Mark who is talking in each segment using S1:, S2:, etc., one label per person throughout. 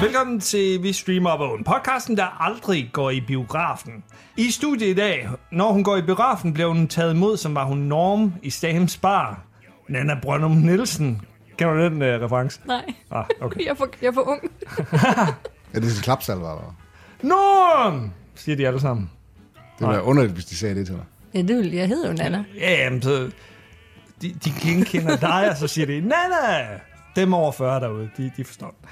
S1: Velkommen til Vi Streamer på en podcasten, der aldrig går i biografen. I studiet i dag, når hun går i biografen, blev hun taget imod, som var hun norm i Stahams Bar. Nana Brøndum Nielsen. Kan du den uh, reference?
S2: Nej,
S1: Ah, okay.
S2: jeg er for, jeg er for ung.
S3: Er det sådan en klapsalver, eller hvad?
S1: Norm! Siger de alle sammen.
S3: Det ville være underligt, hvis de sagde det til mig.
S2: Ja, det vil, jeg hedder jo Nana.
S1: Ja, jamen, så de, de genkender dig, og så siger de, Nana! Dem over 40 derude, de, de forstår den.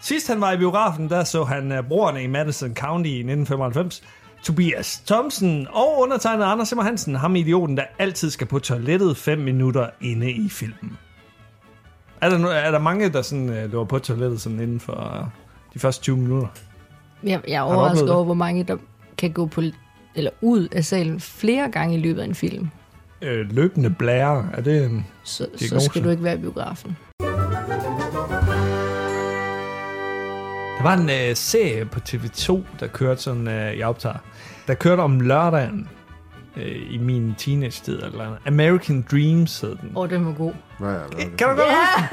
S1: Sidst han var i biografen, der så han uh, brorerne i Madison County i 1995. Tobias Thomsen og undertegnet Anders Simmer Hansen, ham idioten, der altid skal på toilettet 5 minutter inde i filmen. Er der, no- er der mange, der sådan, uh, løber på toilettet sådan inden for uh, de første 20 minutter?
S2: Jeg, jeg er
S1: du oplevet
S2: overrasket
S1: det?
S2: over, hvor mange der kan gå på, eller ud af salen flere gange i løbet af en film.
S1: Øh, løbende blære, er det en...
S2: Så, så
S1: Diagnose.
S2: skal du ikke være i biografen.
S1: Der var en øh, serie på TV2, der kørte sådan, øh, jeg optager, der kørte om lørdagen øh, i min teenage-tid eller andet. American Dreams hed den.
S2: Åh, oh, den var god.
S3: Hvad er det?
S1: Kan du godt yeah!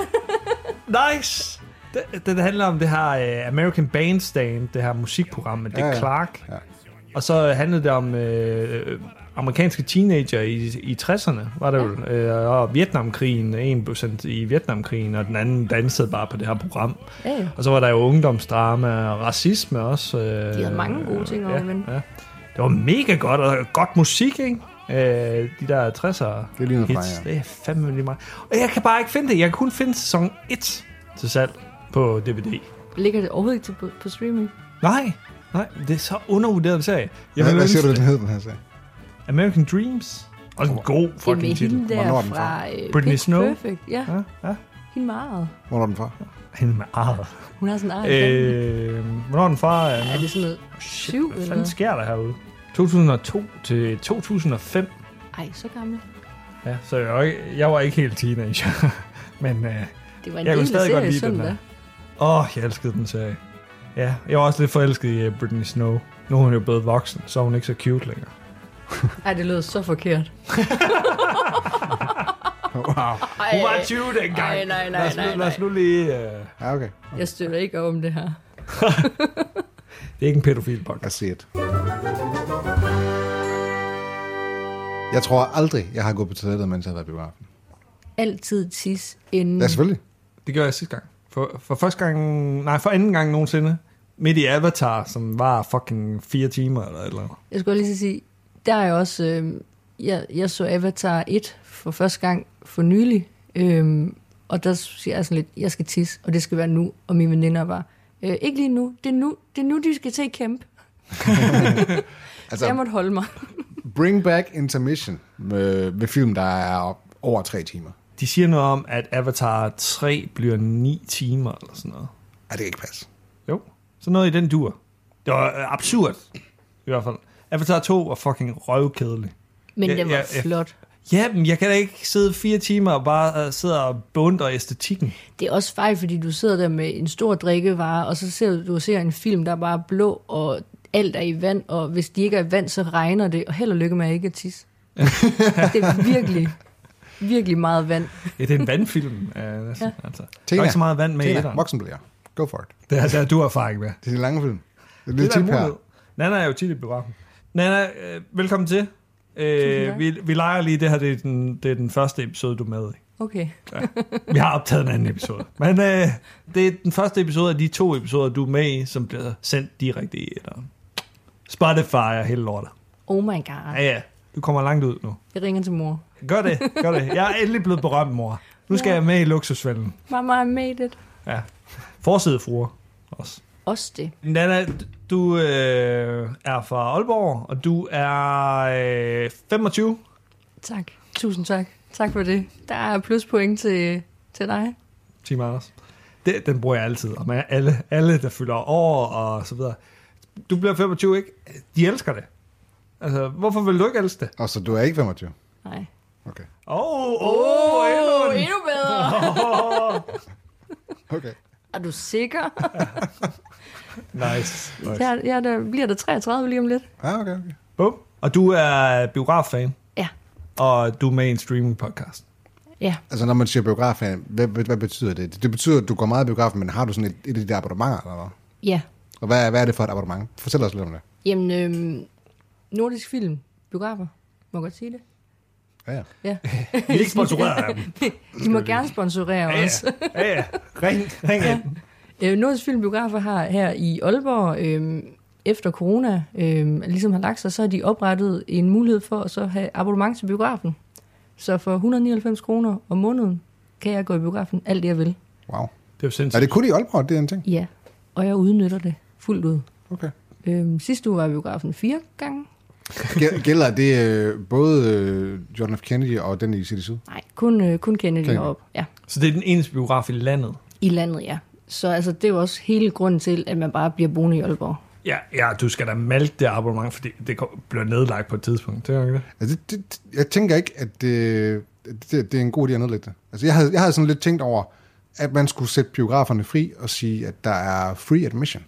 S1: Nice! Den, den handler om det her øh, American Bandstand, det her musikprogram med Dick
S3: Ja,
S1: ja,
S3: ja.
S1: Clark.
S3: Ja.
S1: Og så handlede det om øh, øh, amerikanske teenager i, i 60'erne, var det jo. Øh, og Vietnamkrigen, en blev sendt i Vietnamkrigen, og den anden dansede bare på det her program.
S2: Ja, ja.
S1: Og så var der jo ungdomsdrama og racisme også. Øh,
S2: De havde mange gode ting over, men-
S1: ja. Det var mega godt, og godt musik, ikke? Øh, de der 60'er
S3: Det ligner fra
S1: hits,
S3: jer.
S1: det er fandme lige meget. Og jeg kan bare ikke finde det. Jeg kan kun finde sæson 1 til salg på DVD.
S2: Ligger det overhovedet ikke til, på, på streaming?
S1: Nej, nej, det er så undervurderet en serie. Jeg
S3: Hvad,
S1: vil
S3: hvad siger du,
S1: ønske-
S3: den hed, den her sag?
S1: American Dreams. Og en god
S2: Det er med
S1: fucking titel.
S2: hende der
S3: Hvornår er den
S2: fra øh,
S1: Britney
S2: Pitch
S1: Snow?
S2: Perfect. Ja,
S1: Ja, ja.
S2: hende meget.
S3: Hvor er den fra?
S1: Hende med arret.
S2: Hun har sådan en øh,
S1: Øh, hvornår er den fra? øh,
S2: Er det sådan noget? syv,
S1: Shit, hvad fanden
S2: eller?
S1: sker der herude? 2002 til 2005.
S2: Ej, så gammel.
S1: Ja, så jeg var ikke, jeg var ikke helt teenager. Men øh,
S2: Det var en
S1: Jeg kunne
S2: del
S1: stadig godt
S2: serie
S1: lide den
S2: søndag.
S1: åh, jeg elskede den serie. Ja, jeg var også lidt forelsket i øh, Britney Snow. Nu er hun jo blevet voksen, så er hun ikke så cute længere.
S2: Ej, det lød så forkert.
S3: Wow.
S2: Ej,
S1: Hun var 20 dengang.
S2: Ej, nej, nej,
S1: lad os nu,
S2: nej,
S1: Lad os nu lige... Øh,
S3: Ja, okay.
S2: jeg støtter ikke op om det her.
S1: det er ikke en pædofil podcast.
S3: Jeg ser det. Jeg tror aldrig, jeg har gået på toilettet, mens jeg har været i biografen.
S2: Altid tis inden.
S1: Mm.
S3: Ja, selvfølgelig.
S1: Det gjorde jeg sidste gang. For, for første gang... Nej, for anden gang nogensinde. Midt i Avatar, som var fucking fire timer eller et eller andet.
S2: Jeg skulle lige til at sige, der er jeg også, øh, jeg, jeg så Avatar 1 for første gang for nylig, øh, og der siger jeg sådan lidt, jeg skal tisse, og det skal være nu, og mine veninder var, øh, ikke lige nu, det er nu, det er nu, de skal til at kæmpe,
S3: Altså,
S2: så jeg måtte holde mig.
S3: bring back intermission med, med film, der er op over tre timer.
S1: De siger noget om, at Avatar 3 bliver 9 timer eller sådan noget.
S3: Ja, det kan ikke passe.
S1: Jo. Sådan noget i den dur. Det var øh, absurd. I hvert fald. Avatar 2 var fucking røvkedelig.
S2: Men
S1: Ja,
S2: det var
S1: ja, ja.
S2: flot.
S1: Jamen, jeg kan da ikke sidde fire timer og bare uh, sidde og beundre æstetikken.
S2: Det er også fejl, fordi du sidder der med en stor drikkevare, og så ser du, du ser en film, der er bare blå, og alt er i vand, og hvis de ikke er i vand, så regner det, og held og lykke med at ikke at tisse. det er virkelig, virkelig meget vand.
S1: Ja, det er en vandfilm. Uh, næsten, ja. altså. Der er
S3: Tina.
S1: ikke så meget vand med i
S3: Tina,
S1: etteren.
S3: Voksenblære. Go for it.
S1: Det er der, du har erfaring med.
S3: Det er en lang film. Det er en
S1: Det
S3: lille
S1: er der
S3: tip
S1: en
S3: her.
S1: mulighed. Nana er jo tit i biografen. Nana, øh, velkommen til.
S2: Tusind
S1: Øh,
S2: tak.
S1: vi, vi leger lige, det her det er, den, det er den første episode, du er med i.
S2: Okay.
S1: Vi har optaget en anden episode. Men øh, det er den første episode af de to episoder, du er med i, som bliver sendt direkte i etteren. Spotify og hele lortet.
S2: Oh my god.
S1: Ja, ja. Du kommer langt ud nu.
S2: Jeg ringer til mor.
S1: Gør det, gør det. Jeg er endelig blevet berømt, mor. Nu skal jeg med i luksusfælden.
S2: Mama, I made it.
S1: Ja. Forside fruer også.
S2: Også det.
S1: Nana, du øh, er fra Aalborg, og du er øh, 25.
S2: Tak. Tusind tak. Tak for det. Der er pluspoint til, til dig.
S1: Team Anders. Det, den bruger jeg altid, og med alle, alle, der fylder over og så videre. Du bliver 25, ikke? De elsker det. Altså, hvorfor vil du ikke elske det?
S3: Og så du er ikke 25.
S2: Nej.
S3: Okay.
S1: Åh, oh, åh, oh, endnu en.
S2: endnu bedre.
S3: Okay.
S2: er du sikker?
S1: Nice. nice.
S2: Jeg, jeg der, bliver der 33 lige om lidt.
S3: Ja, okay, okay.
S1: Bum. Og du er biograffan,
S2: Ja.
S1: og du er med i en streaming podcast.
S2: Ja.
S3: Altså, når man siger biograf, hvad, hvad, hvad betyder det? Det betyder, at du går meget i biografen, men har du sådan et, et af de der abonnementer, eller hvad?
S2: Ja,
S3: Og hvad, hvad er det for et abonnement? Fortæl os lidt om det.
S2: jamen, øhm, nordisk film, biografer, må jeg godt sige det?
S3: Ja, ja.
S2: Ja.
S1: Vi er ikke sponsoreret af dem.
S2: De må gerne sponsorere
S1: Ja,
S2: os.
S1: ja, ja. Ring, ring ind.
S2: Øh, Nordisk Filmbiografer har her i Aalborg, øh, efter corona øh, ligesom har lagt sig, så har de oprettet en mulighed for at så have abonnement til biografen. Så for 199 kroner om måneden kan jeg gå i biografen alt det, jeg vil.
S3: Wow.
S1: Det er jo
S3: Er
S1: sindssygt.
S3: det kun i Aalborg, det er en ting?
S2: Ja, og jeg udnytter det fuldt ud.
S3: Okay.
S2: Øh, sidste uge var jeg i biografen fire gange.
S3: Gæl- Gælder det øh, både øh, John F. Kennedy og den i City Syd?
S2: Nej, kun, øh, kun Kennedy
S3: Kennedy.
S2: op. Ja,
S1: Så det er den eneste biograf i landet.
S2: i landet, ja. Så altså, det er jo også hele grunden til, at man bare bliver boende i Aalborg.
S1: Ja, ja, du skal da malte det abonnement, for det, det kom- bliver nedlagt på et tidspunkt. Det er jo ikke det.
S3: Altså, det, det, jeg tænker ikke, at det, det, det er en god idé at nedlægge det. Altså, jeg havde, jeg havde sådan lidt tænkt over, at man skulle sætte biograferne fri og sige, at der er free admission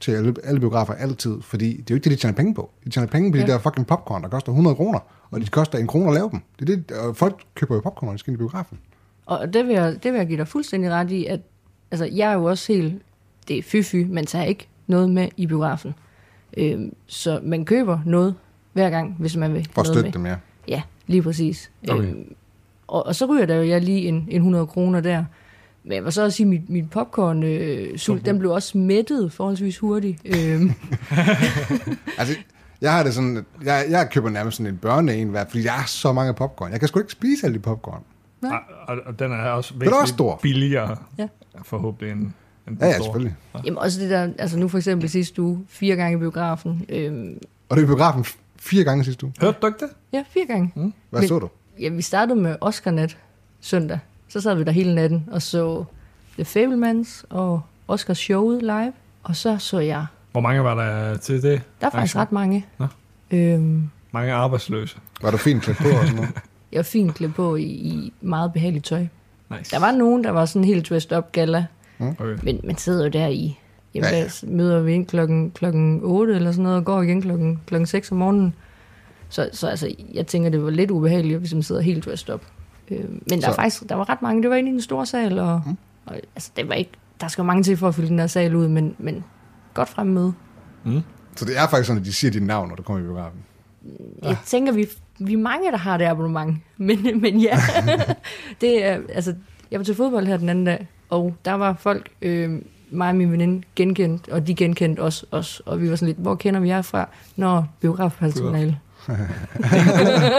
S3: til alle, alle biografer altid, fordi det er jo ikke det, de tjener penge på. De tjener penge på ja.
S2: Ja.
S3: de der fucking popcorn, der koster 100 kroner, og de koster en krone at lave dem. Det er det, og folk køber jo popcorn, når de skal ind i biografen.
S2: Og det vil, jeg, det vil jeg give dig fuldstændig ret i, at altså, jeg er jo også helt, det er fy-fy, man tager ikke noget med i biografen. Øhm, så man køber noget hver gang, hvis man vil
S3: For at
S2: noget
S3: støtte
S2: med.
S3: dem, ja.
S2: Ja, lige præcis.
S1: Okay.
S2: Øhm, og, og så ryger der jo jeg lige en, en 100 kroner der. Men jeg vil så også sige, at mit, mit popcorn øh, sult, den blev også mættet forholdsvis hurtigt. Øhm,
S3: Altså, jeg har det sådan, at jeg, jeg køber nærmest sådan en børne en hver, fordi der er så mange popcorn. Jeg kan sgu ikke spise alle de popcorn.
S2: Nej.
S1: Og, og, og den er også
S3: er også
S1: væsentligt
S3: stor.
S1: billigere,
S2: Ja.
S1: forhåbentlig, end, end den
S3: Ja, ja,
S1: store.
S3: selvfølgelig.
S2: jamen også det der, altså nu for eksempel sidste uge, fire gange i biografen. Øhm,
S3: Og det er i biografen f- fire gange sidste uge.
S1: Hørte du ikke det?
S2: ja, fire gange.
S3: Hvad
S2: Men-
S3: så du?
S2: Ja, vi startede med Oscar-nat søndag. Så sad vi der hele natten og så The Fablemans og Oscar showet live. Og så så jeg,
S1: Hvor mange var der til det?
S2: der er faktisk
S1: Action.
S2: ret mange.
S1: Nå.
S2: Øhm,
S1: Mange arbejdsløse.
S3: Var du fint klædt på og sådan noget?
S2: jeg var fint klædt på i, i meget behageligt tøj.
S1: Nice.
S2: Der var nogen, der var sådan helt dressed up gala,
S1: Okay.
S2: men man sidder jo der i. Jamen,
S3: Ja,
S2: ja,
S3: ja.
S2: ja. møder vi ind klokken, klokken 8 eller sådan noget, og går igen klokken, klokken 6 om morgenen. Så, så altså, jeg tænker, det var lidt ubehageligt, hvis man sidder helt dressed op. Øh, men der,
S3: Så-
S2: er faktisk, der var ret mange. Det var inde i en stor sal, og, mm. og altså, det var ikke, der skal jo mange til for at fylde den her sal ud, men, men godt fremmøde.
S3: Så det er faktisk sådan, at de siger dit navn, når du kommer i biografen.
S2: Jeg tænker, vi, vi er mange, der har det abonnement. Men, men ja, det er, altså, jeg var til fodbold her den anden dag, og der var folk, øh, mig og min veninde, genkendt, og de genkendte os, os. Og vi var sådan lidt, hvor kender vi jer fra? Når biografpersonale.
S1: Det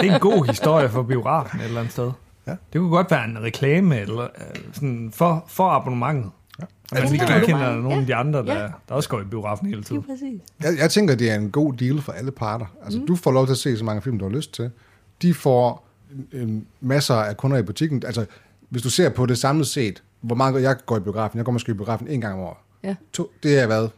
S1: er en god historie for biografen et eller andet sted.
S3: Ja.
S1: Det kunne godt være en reklame eller, øh, sådan for, for abonnementet. Ja.
S3: Ja,
S1: Altså, vi
S3: det kan være.
S1: kender der nogle af de andre, der,
S2: Ja.
S1: der også går i biografen hele
S2: Lige
S1: tiden.
S2: præcis.
S3: Jeg, jeg tænker, det er en god deal for alle parter. Altså, mm. du får lov til at se så mange film, du har lyst til. De får øh, masser af kunder i butikken. Altså, hvis du ser på det samlet set, hvor meget jeg går i biografen. Jeg går måske i biografen en gang om året.
S2: Ja,
S3: To, det er været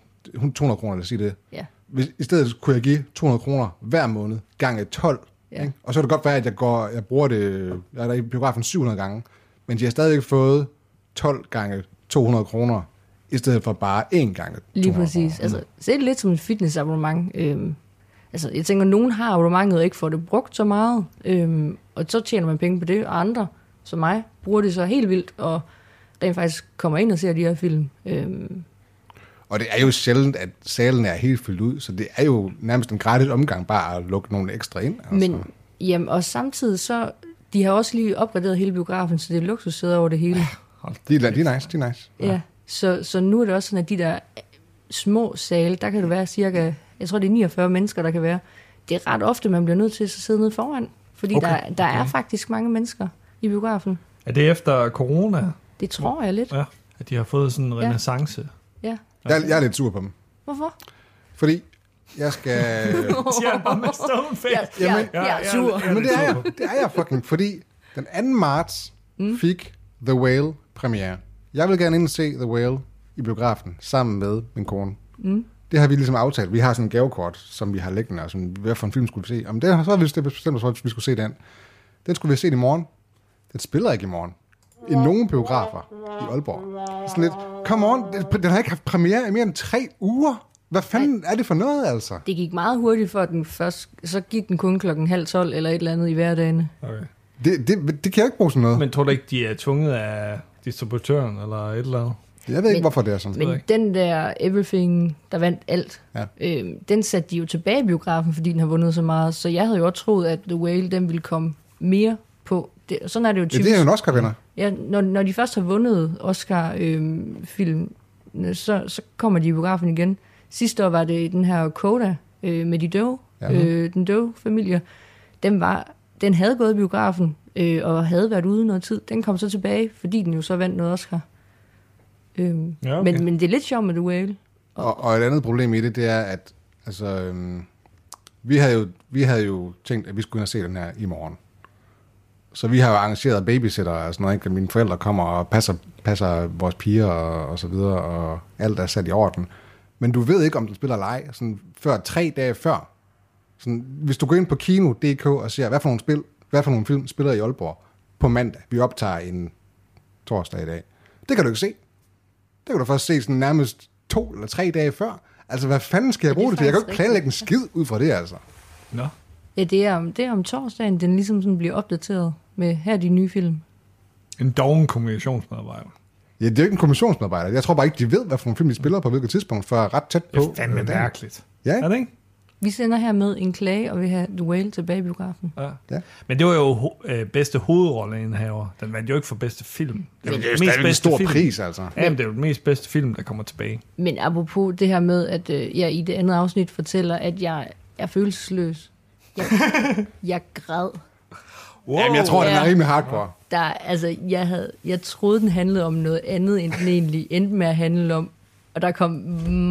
S3: 200 kroner, lad os sige det.
S2: ja.
S3: Hvis, I stedet kunne jeg give 200 kroner hver måned, gange 12.
S2: Ja.
S3: Ja. Og så kan det godt være, at jeg, går, jeg bruger det, jeg er der i biografen 700 gange, men de har stadigvæk fået 12 gange 200 kroner, i stedet for bare én gange 200
S2: Lige præcis.
S3: kroner.
S2: Altså, se det lidt som et fitnessabonnement. Øhm, altså, jeg tænker, nogen har abonnementet og ikke får det brugt så meget, øhm, og så tjener man penge på det, og andre, som mig, bruger det så helt vildt, og rent faktisk kommer ind og ser de her film. Øhm,
S3: Og det er jo sjældent, at salen er helt fyldt ud, så det er jo nærmest en gratis omgang bare at lukke nogle ekstra ind. Altså.
S2: men, jamen, og samtidig så, de har også lige opgraderet hele biografen, så det er luksussæder over det hele.
S3: de, er, de er nice, de er nice.
S2: Ja. Så, så nu er det også sådan, at de der øh, små sale, der kan det være cirka, jeg tror det er 49 mennesker, der kan være. Det er ret ofte, man bliver nødt til at sidde nede foran, fordi
S3: Okay.
S2: okay. der, der okay. er faktisk mange mennesker i biografen.
S1: Er det efter corona,
S2: Det tror jeg lidt.
S1: ja, at de har fået sådan en
S2: Ja.
S1: renaissance? Ja.
S2: Ja.
S3: Jeg, jeg er lidt sur på dem,
S2: Hvorfor?
S3: fordi jeg skal...
S1: Siger han bare med stone face.
S2: Jeg, jeg,
S1: Ja,
S2: jeg, jeg
S1: ja,
S2: er sur.
S1: ja.
S3: Men det er jeg. Det er jeg fucking, fordi den 2. marts mm. fik The Whale premiere. Jeg vil gerne ind og se The Whale i biografen sammen med min kone. Mm. Det har vi ligesom aftalt. Vi har sådan en gavekort, som vi har liggende, og som hvad for en film skulle vi se. Om det, så har vi bestemt os for, at vi skulle se den. Den skulle vi se i morgen. Den spiller ikke i morgen. I nogle biografer i Aalborg. Sådan lidt, come on, den, den har ikke haft premiere i mere end tre uger. Hvad fanden er det for noget, altså?
S2: Det gik meget hurtigt for den først, så gik den kun klokken halv tolv eller et eller andet i hverdagene.
S1: Okay.
S3: Det, det, det kan jeg ikke bruge sådan noget.
S1: Men tror du ikke, de er tvunget af distributøren eller et eller andet?
S3: Jeg ved ikke,
S2: Men-
S3: hvorfor det er sådan.
S1: ved jeg
S2: Men den der Everything, der vandt alt,
S3: Ja.
S2: ja. øh, den satte de jo tilbage i biografen, fordi den har vundet så meget. Så jeg havde jo også troet, at The Whale, den ville komme mere på. Det, sådan er det jo
S3: Ja,
S2: typisk.
S3: det er jo en Oscar-vinder.
S2: Ja, når, når de først har vundet Oscar-film, så, så kommer de i biografen igen. Sidste år var det den her Coda øh, med de døve,
S3: Ja.
S2: øh, den døve familie. Den, var, den havde gået i biografen øh, og havde været ude noget tid. Den kom så tilbage, fordi den jo så vandt noget Oscar. Øhm,
S1: Ja,
S2: ja,
S1: okay.
S2: okay. men, men det er lidt sjovt med The Whale.
S3: Og, og et andet problem i det, det er, at altså, øhm, vi, havde jo, vi havde jo tænkt, at vi skulle ind og se den her i morgen. Så vi har jo arrangeret babysitter og sådan noget. Ikke? Mine forældre kommer og passer, passer vores piger og, og så videre, og alt er sat i orden. Men du ved ikke, om den spiller leg, sådan før tre dage før. Sådan, hvis du går ind på Kino.dk og ser, hvad for nogle, spil, hvad for nogle film spiller i Aalborg på mandag. Vi optager en torsdag i dag. Det kan du ikke se. Det kan du først se sådan nærmest to eller tre dage før. Altså, hvad fanden skal jeg
S2: Det er
S3: bruge det til? Jeg kan jo ikke
S2: faktisk
S3: planlægge en skid ud fra det, altså.
S1: Nå.
S2: Ja, det er, om- det er om torsdagen, den ligesom sådan bliver opdateret med, her er de nye film.
S1: En doven kommunikationsmedarbejder.
S3: Ja, det er jo ikke en kommissionsmedarbejder. Jeg tror bare ikke, de ved, hvad for nogle film de spiller på hvilket tidspunkt, før ret tæt på.
S1: Det er fandme
S3: øh, dagen.
S1: mærkeligt.
S3: Ja,
S1: Er
S3: ikke?
S1: det ikke?
S2: Vi sender hermed en klage, og vi har The Whale tilbage i biografen.
S1: Ja.
S3: Ja.
S1: Men det var jo ho- øh, bedste hovedrolleindehaver. Den vandt jo ikke for bedste film.
S3: Men
S1: jo
S3: det er jo
S1: den
S3: stadig en stor
S1: film.
S3: pris, altså.
S1: Ja, men det er jo den mest bedste film, der kommer tilbage.
S2: Men apropos det her med, at øh, jeg i det andet afsnit fortæller, at jeg er følelsesløs. Jeg, jeg græd.
S1: Wow.
S3: Jamen, jeg tror, den er
S2: Ja.
S3: rimelig hardcore.
S2: Der, altså, jeg, havde, jeg troede, den handlede om noget andet, end den egentlig endte med at handle om. Og der kom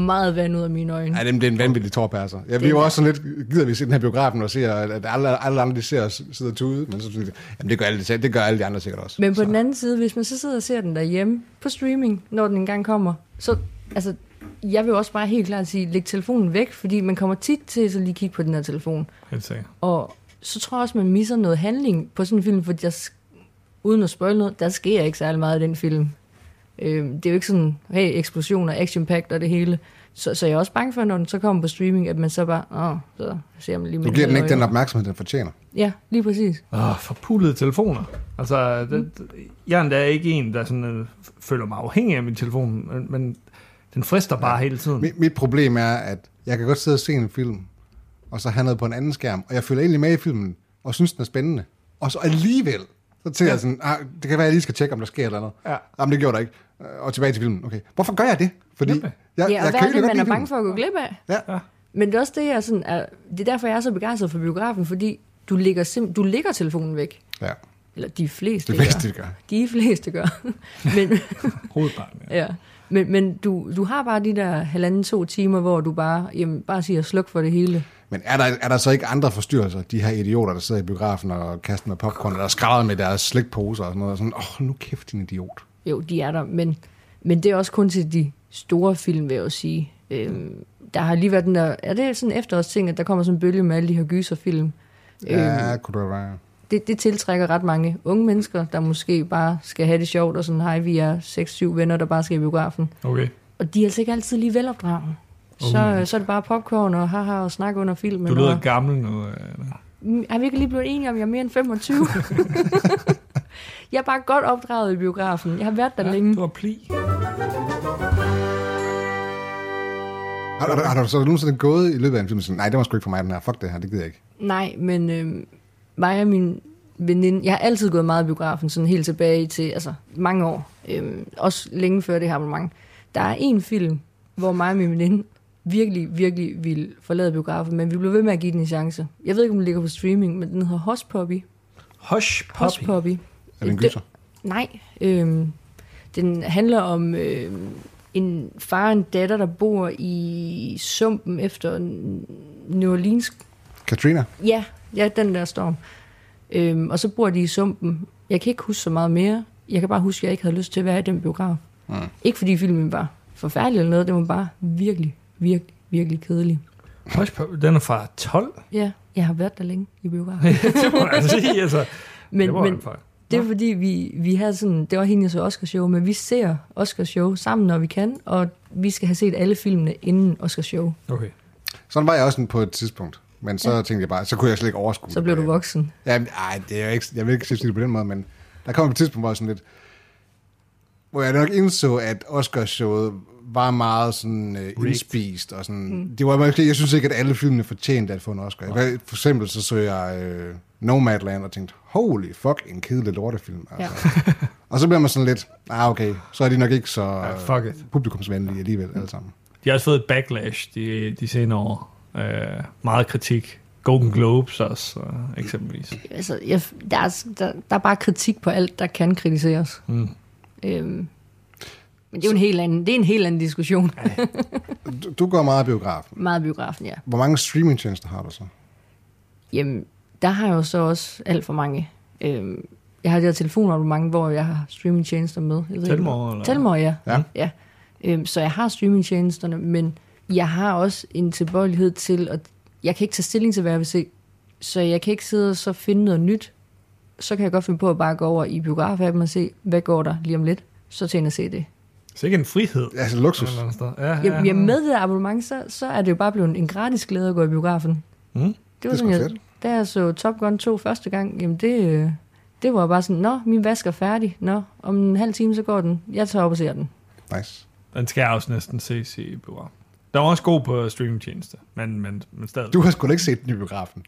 S2: meget vand ud af mine øjne.
S3: Ja, det, det er en vanvittig altså. tårpasser. Ja, vi
S2: Det
S3: er jo
S2: er-
S3: også sådan lidt, gider vi se den her biografen og se, at at alle, alle andre de ser os sidde og tude, men så synes jeg, jamen det gør alle, de- det gør alle de andre sikkert også.
S2: Men på
S3: så.
S2: så. den anden side, hvis man så sidder og ser den derhjemme på streaming, når den engang kommer, så altså, jeg vil jo også bare helt klart sige, læg telefonen væk, fordi man kommer tit til så lige kigge på den her telefon.
S1: Helt sikkert.
S2: Og så tror jeg også, man misser noget handling på sådan en film, for der, sk- uden at spoil noget, der sker ikke særlig meget i den film. Øh, det er jo ikke sådan, hey, eksplosioner, action packed og det hele. Så, så jeg er også bange for, når den så kommer på streaming, at man så bare, åh, så ser man lige med
S3: Du giver den ikke den
S2: halvøje."
S3: opmærksomhed, den fortjener.
S2: Ja, lige præcis.
S1: Åh, forpullede telefoner. Altså,
S3: Mm.
S1: det, det- jeg er endda ikke en, der sådan, øh, f- føler mig afhængig af min telefon, men, men den frister bare hele tiden.
S3: Mit, mit problem er, at jeg kan godt sidde og se en film, og så have noget på en anden skærm, og jeg følger egentlig med i filmen, og synes, den er spændende. Og så alligevel, så tænker jeg sådan, ah, det kan være, jeg lige skal tjekke, om der sker et eller andet.
S1: Ja.
S3: Jamen, det gjorde der ikke. Øh, Og tilbage til filmen. Okay. Hvorfor gør jeg det? Fordi jeg, jeg,
S2: Ja, og hvad
S3: kan
S2: er det,
S3: egentlig godt
S2: man er
S3: lide
S2: bange
S3: filmen.
S2: for at gå glip af?
S3: Ja.
S2: Men det er også det, jeg sådan, er, det er derfor, jeg er så begejstret for biografen, fordi du lægger, sim- du lægger telefonen væk.
S3: ja,
S2: Eller de fleste,
S3: det bedste,
S2: gør.
S3: det gør.
S2: De fleste gør. Men,
S1: Hovedparten, ja.
S2: Ja, men, men du, du har bare de der halvanden, to timer, hvor du bare, jamen, bare siger sluk for det hele.
S3: Men er der, er der så ikke andre forstyrrelser, de her idioter, der sidder i biografen og kaster med popcorn, eller skræller med deres slikposer og sådan noget, og sådan, åh, oh, nu kæft, din idiot.
S2: Jo, de er der, men, men det er også kun til de store film, vil jeg jo sige. Øhm, der har lige været den der, er det sådan en efterårsting, at der kommer sådan en bølge med alle de her gyserfilm? Øhm.
S3: Ja, kunne det være.
S2: det, det tiltrækker ret mange unge mennesker, der måske bare skal have det sjovt, og sådan, hej, vi er 6-7 venner, der bare skal i biografen.
S1: Okay.
S2: Og de er altså ikke altid lige velopdraget. Så, så er det bare popcorn og haha og snak under filmen.
S1: Du
S2: og-
S1: lyder gammel nu. øh.
S2: Mm, Er vi ikke lige blevet enige om, at jeg er mere end 25? jeg er bare godt opdraget i biografen. Jeg har været der ja, længe.
S1: Du har pli.
S3: Har, har, har, har du så nogensinde gået i løbet af en film, sådan, nej, det var sgu ikke for mig, den her, fuck det her, det gider jeg ikke.
S2: Nej, men øh, mig og min veninde, jeg har altid gået meget i biografen, sådan helt tilbage til altså, mange år. Øh, også længe før det her abonnement. Der er en film, hvor mig og min veninde virkelig, virkelig ville forlade biografen, men vi blev ved med at give den en chance. Jeg ved ikke, om den ligger på streaming, men den hedder Hush Puppy.
S1: Hush
S2: Hush
S1: Puppy.
S2: Puppy.
S3: Er det
S2: Det-
S3: en gyser?
S2: Nej, øh, den handler om øh, en far og en datter, der bor i sumpen efter New Orleans.
S3: Katrina?
S2: Ja, ja den der storm. Øh, og så bor de i sumpen. Jeg kan ikke huske så meget mere. Jeg kan bare huske, at jeg ikke havde lyst til at være i den biograf.
S3: Mm.
S2: Ikke fordi filmen var forfærdelig eller noget, den var bare virkelig, virkelig, virkelig kedelig.
S1: Hush Puppy. Den er fra 12.
S2: Ja, jeg har været der længe i biografen.
S1: det må jeg sige, altså.
S2: Men,
S1: det var
S2: men,
S1: den fra.
S2: Det er fordi, vi, vi havde sådan, det var hende, jeg så Oscarshow, men vi ser Oscarshow sammen, når vi kan, og vi skal have set alle filmene inden Oscarshow.
S1: Okay.
S3: Sådan var jeg også på et tidspunkt. Men så tænkte jeg bare, så kunne jeg slet ikke overskue
S2: Så blev du
S3: det.
S2: voksen.
S3: Ja, nej, det er jo ikke, jeg vil ikke sige det på den måde, men der kom et tidspunkt, hvor jeg sådan lidt, hvor jeg nok indså, at Oscarshowet var meget sådan øh,
S1: Rigged.
S3: indspist, og sådan, mm. det var måske, jeg synes ikke, at alle filmene fortjente at få en Oscar. Jeg, for eksempel så så jeg øh, Nomadland og tænkte, holy fuck, en kedelig lortefilm.
S2: Ja.
S3: Altså. og så bliver man sådan lidt, ah okay, så er de nok ikke så
S1: Ja,
S3: øh,
S1: fuck it.
S3: publikumsvenlige alligevel alle sammen.
S1: De har også fået et backlash de, de senere år. Øh, meget kritik. Golden Globes også, øh, eksempelvis.
S2: Altså, jeg, der, er, der, der er bare kritik på alt, der kan kritiseres.
S1: Mm.
S2: Øhm, men det er jo en helt anden, det er en helt anden diskussion.
S3: Du, du går meget i biografen.
S2: Meget biografen, ja.
S3: Hvor mange streamingtjenester har du så?
S2: Jamen, der har jeg jo så også alt for mange. Øhm, jeg har de her telefonabonnement, hvor jeg har streamingtjenester med. Jeg ved ikke,
S1: Telmore, eller?
S2: Telmore, ja.
S3: Ja.
S2: ja. Øhm, så jeg har streamingtjenesterne, men jeg har også en tilbøjelighed til, at jeg kan ikke tage stilling til, hvad jeg vil se, så jeg kan ikke sidde og så finde noget nyt. Så kan jeg godt finde på at bare gå over i biografappen og se, hvad går der lige om lidt. Så til ind og se det.
S1: Så ikke en frihed.
S3: Altså luksus.
S1: et eller andet sted. Ja, ja,
S2: Jamen, ja, med det der abonnement, så, så er det jo bare blevet en gratis glæde at gå i biografen.
S1: Mm.
S2: Det
S3: er
S2: var sådan,
S3: sgu
S2: jeg, da jeg så Top Gun 2 første gang, jamen det, øh, det var bare sådan, nå, min vask er færdig, nå, om en halv time, så går den, jeg tager op og ser den.
S3: Nice.
S1: Den skal også næsten ses i biografen. Der var også god på streamingtjenester, men, men, men stadig.
S3: Du har sgu da ikke set den i biografen.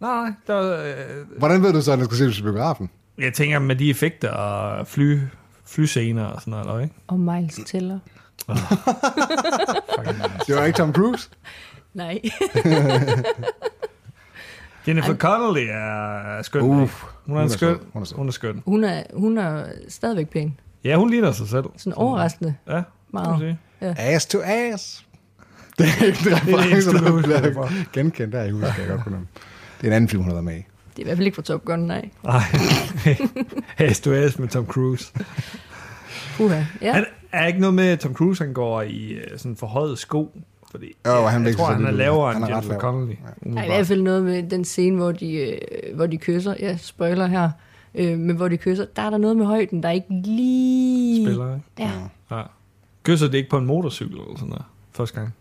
S1: Nej, nej. Der, øh,
S3: Hvordan ved du så, at den skal ses i biografen?
S1: jeg tænker med de effekter og fly, flyscener og sådan noget, eller ikke?
S2: Og Miles tæller.
S1: øh,
S3: Det var ikke Tom Cruise.
S2: Nej.
S1: Jennifer Connelly er skøn.
S3: Uh,
S1: ikke? hun er,
S3: hun
S1: en
S3: er
S1: skøn.
S3: sød, hun er sød.
S1: Hun er skøn.
S2: Hun er, hun er stadigvæk pæn.
S1: Ja, hun ligner sig selv.
S2: Sådan overraskende
S1: Ja, det må man
S2: meget.
S1: sige.
S3: Ass to ass. Det er ikke en
S1: det
S3: reference,
S1: eneste,
S3: der
S1: du husker
S3: bliver genkendt der. Jeg husker jeg godt på dem. Det er en anden film, hun har været med i.
S2: Det er i hvert fald ikke fra Top Gun, nej.
S1: Nej. Hey, du er med Tom Cruise.
S2: Uha. Ja.
S1: Han er ikke noget med, at Tom Cruise han går i øh, sådan forhøjet sko. Fordi,
S3: Jo, han
S1: jeg
S3: vækster
S1: tror,
S3: sig
S1: han er
S3: lidt ud.
S1: lavere
S3: Han
S1: end
S3: er ret
S1: Jennifer
S3: lav.
S1: Connelly.
S2: Der er i
S1: umiddelbart.
S2: hvert fald noget med den scene, hvor de, øh, hvor de kysser. Ja, spoiler her. Øh, men hvor de kysser, der er der noget med højden, der ikke lige...
S1: Spiller, ikke?
S2: Ja.
S1: Ja. Kysser det ikke på en motorcykel eller sådan noget? Første gang.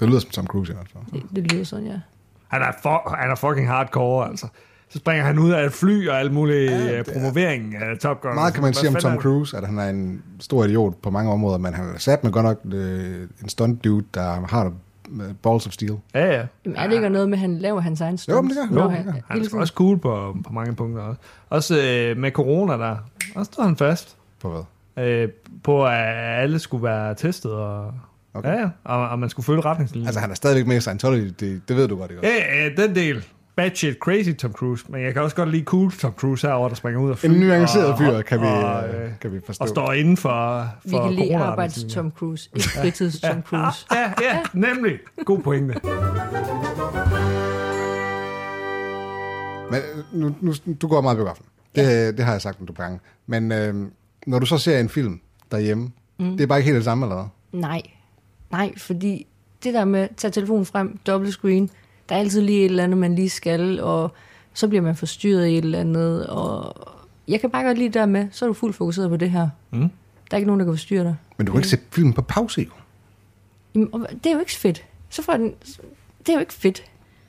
S3: Det lyder som Tom Cruise i hvert fald.
S2: Det, det lyder sådan, ja.
S1: Han er, for, han er fucking hardcore, altså. Så springer han ud af et fly og alt muligt ja, promovering af Top Gun.
S3: Meget kan man
S1: Hvad
S3: sige om
S1: fanden
S3: Tom
S1: er-
S3: Cruise, at han er en stor idiot på mange områder, men han er sat med godt nok øh, en stunt dude, der har det med balls of steel.
S1: Ja, ja.
S2: Jamen, er det ikke noget med, at han laver hans egen stunts?
S3: Jo, men det gør han.
S2: Nå,
S3: Jo,
S2: han,
S3: det gør han.
S1: Han er
S2: hele
S1: sgu
S2: tiden.
S1: også cool på, på mange punkter. Også, også øh, med corona der. Der stod han fast
S3: På hvad?
S1: øh, på, at alle skulle være testet. Og,
S3: Okay.
S1: okay. Ja, ja. Og, og man skulle følge retningslinjerne.
S3: Altså, han er stadigvæk med i Scientology, det, det ved du godt, ikke?
S1: Ja, ja, den del. Bad shit crazy Tom Cruise. Men jeg kan også godt lide cool Tom Cruise herovre, der springer ud og
S3: En nuanceret fyr, kan vi,
S1: og, øh,
S3: øh, kan vi forstå.
S1: og står inden for,
S2: Vi
S1: for
S2: kan lige
S1: corona-
S2: arbejde til Tom Cruise, ikke fritids Tom Cruise.
S1: Ja, ja, nemlig. God pointe.
S3: Men øh, nu, nu, du går meget i biografen. Det, ja. det har jeg sagt en par gange. Men øh, når du så ser en film derhjemme, mm. det er bare ikke helt det samme eller hvad?
S2: Nej. Nej, fordi det der med at tage telefonen frem, double screen, der er altid lige et eller andet, man lige skal, og så bliver man forstyrret i et eller andet, og jeg kan bare godt lide det der med, så er du fuldt fokuseret på det her. Mm. Der er ikke nogen, der kan forstyrre dig.
S3: Men du kan ikke
S2: Mm.
S3: se filmen på pause, jo.
S2: Jamen, og det er jo ikke fedt. Så får jeg den, det er jo ikke fedt.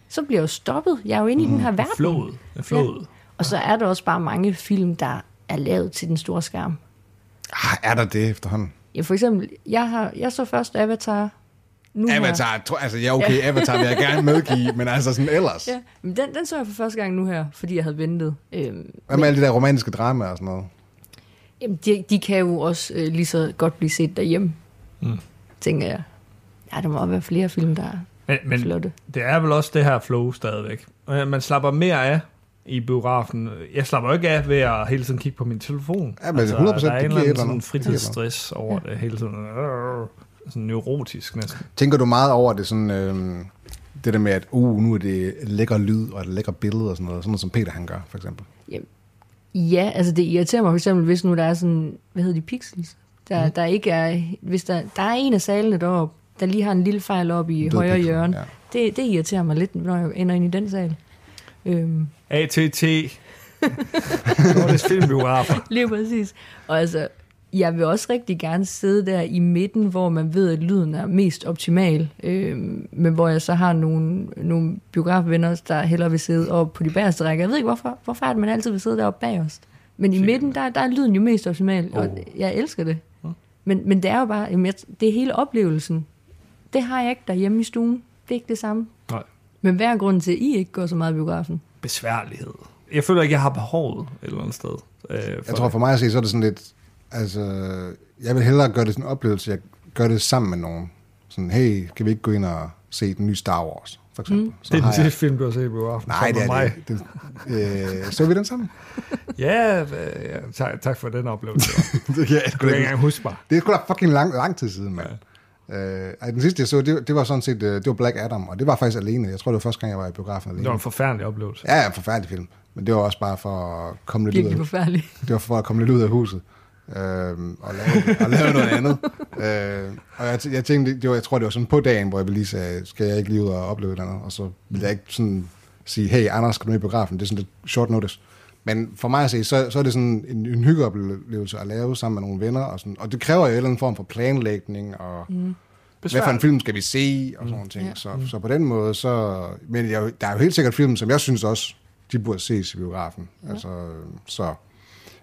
S2: Så bliver jeg jo stoppet. Jeg er jo inde
S1: Mm.
S2: i den her verden.
S1: Flået. Flået.
S2: Og så er der også bare mange film, der er lavet til den store skærm.
S3: Ah, er der det efterhånden?
S2: Ja, for eksempel, jeg, har, jeg så først Avatar. Nu her.
S3: Avatar, tror, altså ja, okay, Avatar vil jeg gerne medgive, men altså sådan ellers.
S2: Ja, men den, den så jeg for første gang nu her, fordi jeg havde ventet. Øhm,
S3: Hvad med alle de der romantiske dramaer og sådan noget?
S2: jamen, de, de kan jo også øh, lige så godt blive set derhjemme, mm. tænker jeg. Ja, der må også være flere film, der er
S1: Men,
S2: Men...
S1: men
S2: flotte.
S1: det er vel også det her flow stadigvæk. Øh, Man slapper mere af i biografen. Jeg slapper jo ikke af ved at hele tiden kigge på min telefon. Altså,
S3: Ja, men 100%
S1: der er en
S3: det
S1: eller
S3: giver et
S1: anden
S3: eller
S1: sådan
S3: andet.
S1: fritidsstress over det hele tiden. Øh, Sådan neurotisk næsten.
S3: Tænker du meget over det sådan, øh, det der med, at uh, nu er det lækker lyd og et lækker billede og sådan noget, sådan noget som Peter han gør, for eksempel.
S2: Ja, altså det irriterer mig for eksempel, hvis nu der er sådan, hvad hedder de, pixels? Der, mm. der ikke er, hvis der, der er en af salene deroppe, der lige har en lille fejl op i
S3: Død
S2: højre
S3: pixel,
S2: hjørne.
S3: ja.
S2: Ja. Det, det irriterer mig lidt, når jeg ender ind i den sal. Øhm,
S1: ATT. Nordisk Filmbiografer.
S2: Lige præcis. Og altså, jeg vil også rigtig gerne sidde der i midten, hvor man ved, at lyden er mest optimal, øh, men hvor jeg så har nogle, nogle biografvenner, der hellere vil sidde oppe på de bagerste rækker. Jeg ved ikke, hvorfor, hvorfor er det, man altid vil sidde deroppe bagerst? Men i midten, der, der er lyden jo mest optimal, og jeg elsker det. Men, men det er jo bare, jamen, jeg, det er hele oplevelsen. Det har jeg ikke derhjemme i stuen. Det er ikke det samme.
S1: Nej.
S2: Men hvad er grunden til, at I ikke går så meget i biografen?
S1: Besværlighed. Jeg føler ikke, jeg har behovet et eller andet sted. Øh, for
S3: Jeg tror for mig at se, så er det sådan lidt, altså, jeg vil hellere gøre det sådan en oplevelse, jeg gør det sammen med nogen. Sådan, hey, kan vi ikke gå ind og se den nye Star Wars, for eksempel? Mm. Så
S1: det er den
S3: har jeg-
S1: sidste film, du har set i biografen.
S3: Nej,
S1: sammen
S3: det
S1: med
S3: er
S1: mig.
S3: det. ikke. Den, øh, så vi den sammen?
S1: Ja, øh, ja tak, tak for den oplevelse. Det
S3: det kan jeg sgu
S1: kunne jeg
S3: da
S1: ikke
S3: ikke.
S1: engang huske mig.
S3: Det er sgu da fucking lang, lang tid siden, mand. Øh, ej, den sidste, jeg så, det, det var sådan set, øh, det var Black Adam, og det var faktisk alene. Jeg tror, det var første gang, jeg var i biografen
S1: Det var
S3: alene.
S1: en forfærdelig oplevelse.
S3: Ja, ja, forfærdelig film. Men det var også bare for at komme lidt ud
S2: Virkelig
S3: af,
S2: forfærdeligt.
S3: det var for at komme lidt ud af huset. Øhm, og, lave, og lave noget andet. Øh, og jeg, tæ- jeg tænkte, det var, jeg tror, det var sådan på dagen, hvor jeg lige sagde, skal jeg ikke lige ud og opleve et eller andet? Og så ville jeg ikke sådan sige, hey, Anders, skal du med i biografen? Det er sådan lidt short notice. Men for mig at se, så, så er det sådan en, en hyggeoplevelse at lave sammen med nogle venner. Og, sådan, og det kræver jo en eller anden form for planlægning, og mm. hvad for en film skal vi se,
S1: Mm.
S3: og sådan nogle ting.
S2: Ja.
S3: Ja. Så, så på den måde, så... Men jeg, der er jo helt sikkert film, som jeg synes også, de burde ses i biografen. Ja. Altså, så...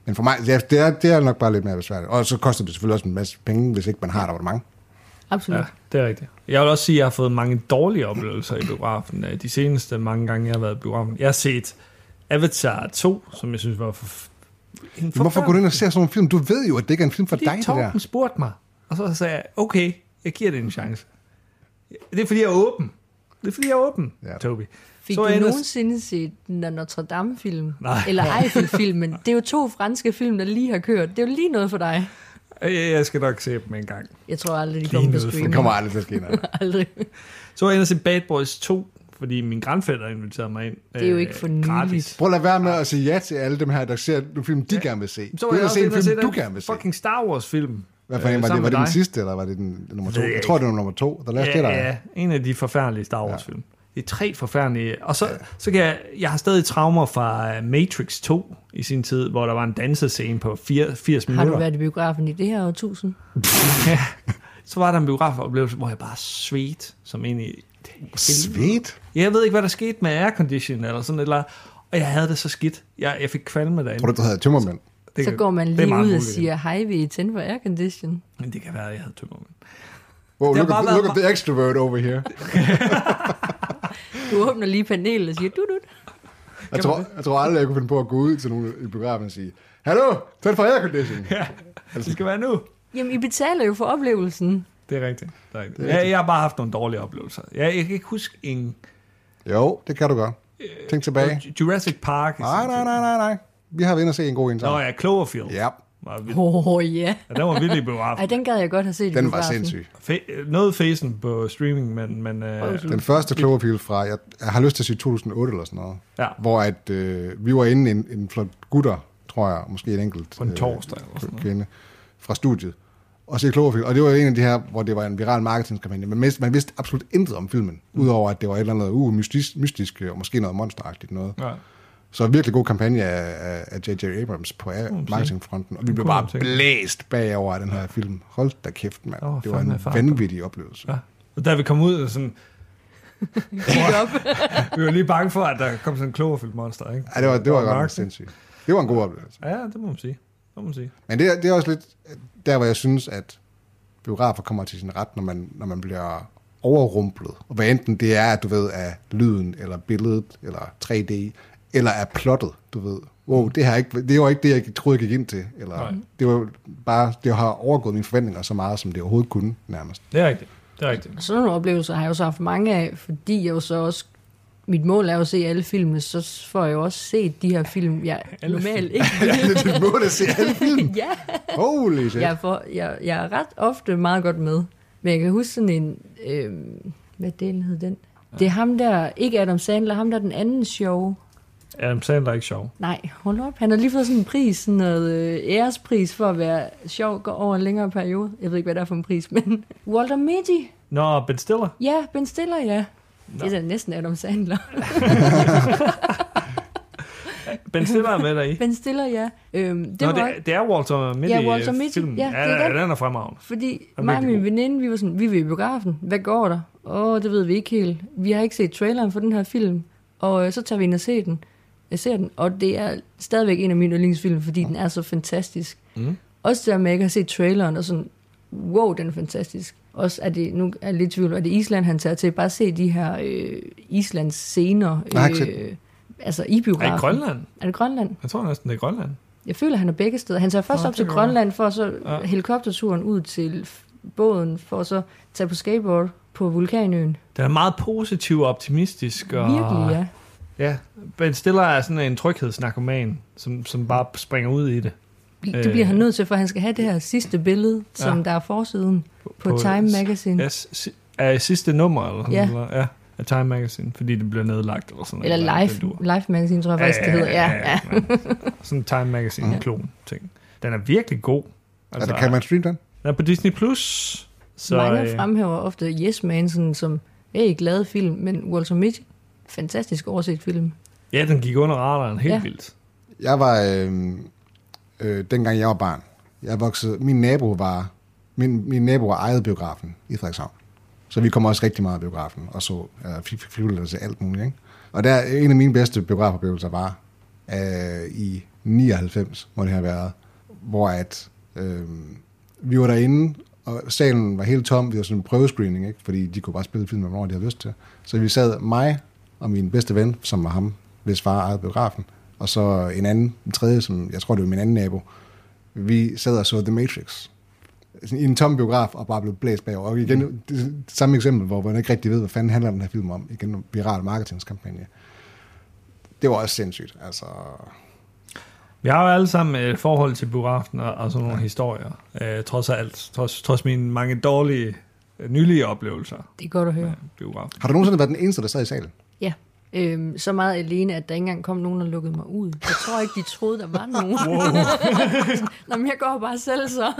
S3: Men for mig, ja, det er, det er nok bare lidt mere besværligt. Og så koster det selvfølgelig også en masse penge, hvis ikke man har et abonnement.
S2: Absolut.
S1: Ja, det er rigtigt. Jeg vil også sige, at jeg har fået mange dårlige oplevelser i biografen øh, de seneste mange gange, jeg har været i biografen. Jeg har set Avatar 2, som jeg synes var for... En
S3: Hvorfor går du ind og ser sådan en film? Du ved jo, at det ikke er en film for
S1: fordi
S3: dig, det
S1: Torben
S3: der.
S1: spurgte mig, og så sagde jeg, okay, jeg giver det en chance. Det er fordi, jeg er åben. Det er fordi, jeg er åben,
S3: Ja.
S1: ja. Toby.
S2: Fik
S1: Så
S2: du
S1: ellers-
S2: nogensinde set den der Notre Dame-film?
S1: Nej.
S2: Eller Eiffel-filmen? Det er jo to franske film, der lige har kørt. Det er jo lige noget for dig.
S1: Øh, Jeg skal nok se dem en gang.
S2: Jeg tror aldrig, de
S1: Lige
S2: kommer på
S1: noget for-
S2: streaming.
S3: Det kommer aldrig til at ske noget.
S2: aldrig.
S1: Så var jeg inde og se Bad Boys 2, fordi min grandfætter inviterede mig ind. øh,
S2: Det er jo ikke for nyligt.
S3: Prøv at lade være med at sige ja til alle dem her, der ser nogle film, de gerne vil se.
S1: Så
S3: Så
S1: var
S3: du
S1: jeg
S3: vil
S1: også
S3: se en
S1: inde og se
S3: film, du
S1: den
S3: gerne vil se.
S1: fucking Star Wars film. øh,
S3: Hvad for en var det? Var det den sidste, eller var det den, den nummer to?
S1: Ved jeg
S3: Jeg tror, det var nummer to. Der lader
S1: Ja,
S3: det der.
S1: ja,
S3: er.
S1: en af de forfærdelige Star Wars film. Det er tre forfærdelige. Og så, så kan jeg, jeg har stadig traumer fra øh, Matrix 2 i sin tid, hvor der var en dansescene på 80, 80
S2: Har du
S1: minutter.
S2: været i biografen i det her årtusind?
S1: Ja. Så var der en biografoplevelse, hvor jeg bare svedte som ind i...
S3: Svedt.
S1: Jeg ved ikke, hvad der skete med aircondition eller sådan et eller andet. Og jeg havde det så skidt. Jeg, jeg fik kvalme derinde.
S3: Tror du, du havde tømmermænd?
S1: Det
S2: Så
S1: kan-
S2: går man
S1: det er
S2: lige ud
S1: meget
S2: og
S1: muligt.
S2: siger, hej, vi er tændt for aircondition.
S1: Men det kan være, at jeg havde tømmermænd.
S3: Wow,
S1: Det har
S3: look,
S1: bare
S3: at,
S1: været
S3: look at the extrovert over here.
S2: Du åbner lige panelet og siger, du, du.
S3: Jeg tror, jeg tror aldrig, jeg kunne finde på at gå ud til nogen i biografen og sige, Hallo, tænd for aircondition.
S1: Ja, det skal være nu.
S2: Jamen, I betaler jo for oplevelsen.
S1: Det er rigtigt. Det er rigtigt.
S3: Det er
S1: Jeg,
S3: rigtigt.
S1: jeg har bare haft nogle dårlige oplevelser. Jeg, jeg kan ikke huske en
S3: Jo, det kan du godt.
S1: Øh,
S3: Tænk tilbage.
S1: Jurassic Park. i
S3: Nej,
S1: sin
S3: nej,
S1: tid.
S3: nej, nej, nej. Vi har været inde og se en god en
S1: Nå
S3: sammen.
S1: ja, Cloverfield.
S3: Ja,
S1: Var vild.
S2: Åh, oh, ja.
S1: Ja, den var vildt i
S2: Ej,
S1: biografen.
S2: den gad jeg godt have set i
S3: den var
S2: biografen.
S3: sindssyg.
S1: Fe- noget fæsen på streaming, men... men øh,
S2: Røvsult.
S3: Den første Cloverfield fra, jeg, jeg har lyst til at sige 2008 eller sådan noget,
S1: ja,
S3: hvor at, øh, vi var inde en, en flot gutter, tror jeg, måske en enkelt
S1: på en torsdag eller sådan
S3: øh,
S1: noget.
S3: kvinde, fra studiet, og se Cloverfield. Og det var jo en af de her, hvor det var en viral marketingkampagne, men mest- man vidste absolut intet om filmen,
S1: Mm.
S3: udover at det var et eller andet uh, mystisk, mystisk, øh, og måske noget monsteragtigt noget.
S1: Ja.
S3: Så virkelig god kampagne af af- af J.J. Abrams på øh, marketingfronten. Og vi blev
S1: kunne
S3: bare
S1: man tænke.
S3: blæst bagover af den her film. Hold da kæft, mand.
S1: Åh,
S3: det var
S1: fandme
S3: en
S1: fart på.
S3: vanvittig oplevelse.
S1: ja. Og da vi kom ud, sådan,
S2: Kig op.
S1: vi var lige bange for, at der kom sådan en Cloverfield-monster, ikke?
S3: Ja, det var, det var godt nok
S1: mørkt,
S3: sindssygt. Det var en god oplevelse.
S1: ikke? Ja, det må man sige. Det må man sige.
S3: Men det, er- det er også lidt øh, der, hvor jeg synes, at biografer kommer til sin ret, når man, når man bliver overrumplet. Og hvad enten det er, at du ved, af lyden, eller billedet, eller 3D, eller af plottet, du ved. Wow, det, her ikke, det var ikke det, jeg troede, jeg gik ind til. Eller,
S1: Nej.
S3: det var bare, det har overgået mine forventninger så meget, som det overhovedet kunne, nærmest.
S1: Det er rigtigt. Det er rigtigt.
S2: Sådan nogle oplevelser har jeg jo så haft mange af, fordi jeg jo så også... Mit mål er jo at se alle filmene, så får jeg jo også set de her film, jeg
S1: Alle
S2: normalt ikke
S3: det er mål at se alle film.
S2: Ja,
S3: Holy shit.
S2: jeg er, for, jeg, jeg er ret ofte meget godt med. Men jeg kan huske sådan en... Øh, hvad delen hed den? Det er ham der, ikke Adam Sandler, ham der er den anden sjove.
S1: Adam Sandler er ikke sjov.
S2: Nej, hold op. Han har lige fået sådan en pris, sådan noget øh, ærespris for at være sjov går over en længere periode. Jeg ved ikke, hvad det er for en pris, men... Walter Mitty.
S1: Nå, Ben Stiller.
S2: Ja, Ben Stiller, ja. Det er da næsten Adam Sandler.
S1: Ben Stiller er med deri.
S2: Ben Stiller, ja. Øhm, det
S1: Nå,
S2: var
S1: det, er- det er Walter Mitty.
S2: Ja, Walter
S1: øh,
S2: Mitty.
S1: filmen.
S2: Ja, det er
S1: ja,
S2: den.
S1: den er fremragende.
S2: Fordi
S1: er
S2: mig og
S1: virkelig
S2: min veninde, vi var sådan, vi vil i biografen. Hvad går der? Åh, oh, det ved vi ikke helt. Vi har ikke set traileren for den her film. Og øh, så tager vi ind og ser den. Jeg ser den, og det er stadigvæk en af mine yndlingsfilm, fordi den er så fantastisk.
S1: Mm.
S2: Også der med, at jeg ikke har set traileren, og sådan, wow, den er fantastisk. Også er det, nu er jeg lidt i tvivl, er det Island, han tager til? Bare se de her øh, Islands scener.
S3: Jeg har ikke
S2: Øh, altså i biografen.
S1: Er det Grønland?
S2: Er det Grønland?
S1: Jeg tror næsten, det er Grønland.
S2: Jeg føler, han er begge steder. Han tager først
S1: Nå,
S2: op
S1: det
S2: til
S1: kan godt være.
S2: Grønland for så
S1: Ja.
S2: ja. helikopterturen ud til f- båden, for så tage på skateboard på vulkanøen.
S1: Den er meget positiv og optimistisk. Og,
S2: Virkelig, ja.
S1: Ja, Ben Stiller er sådan en tryghedsnarkoman, som, som bare springer ud i det.
S2: Det bliver han nødt til, for han skal have det her sidste billede, som
S1: Øh. Ja.
S2: der er forsiden
S1: På,
S2: på, Time Magazine.
S1: Ja, si- er sidste nummer eller sådan
S2: Ja.
S1: noget. Ja. Af Time Magazine, fordi det bliver nedlagt eller sådan
S2: Eller
S1: noget.
S2: Life,
S1: Det dur.
S2: Life Magazine, tror jeg faktisk, det hedder. Ja, ja.
S1: Sådan en Time Magazine-klon-ting. Den er virkelig god.
S3: Altså, kan man streame den?
S1: Den er på Disney+. Plus.
S2: Så,
S1: Så,
S2: Mange
S1: øh,
S2: fremhæver ofte Yes Man sådan, som hey, glad film, men Walter Mitty, fantastisk overset film.
S1: ja, den gik under radaren helt
S2: Ja.
S1: vildt.
S3: Jeg var, øh, øh, dengang jeg var barn, jeg voksede, min nabo var, min, min nabo ejede biografen i Frederikshavn. Så vi kom også rigtig meget i biografen, og så øh, fik flyvede og alt muligt. Ikke? Og der, en af mine bedste biografoplevelser var øh, i 99, må det have været, hvor at, øh, vi var derinde, og salen var helt tom, vi var sådan en prøvescreening, ikke? fordi de kunne bare spille filmen, hvornår de havde lyst til. Så vi sad mig og min bedste ven, som var ham, hvis far ejede biografen, og så en anden, en tredje, som jeg tror, det var min anden nabo, vi sad og så The Matrix sådan i en tom biograf og bare blev blæst bagover. Og igen, det, det samme eksempel, hvor man ikke rigtig ved, hvad fanden handler den her film om. Igen, viral marketingskampagne. Det var også sindssygt. Altså,
S1: Vi har jo alle sammen et forhold til biografen og, og sådan nogle historier, øh, trods alt. Trods, trods mine mange dårlige, øh, nylige oplevelser
S2: Det er godt at høre.
S1: med biografen.
S3: har du nogensinde været den eneste, der sad i salen?
S2: Ja. Øhm, så meget alene, at der ikke engang kom nogen og lukkede mig ud. Jeg tror ikke, de troede, der var nogen.
S1: Wow.
S2: Nå, men jeg går bare selv så.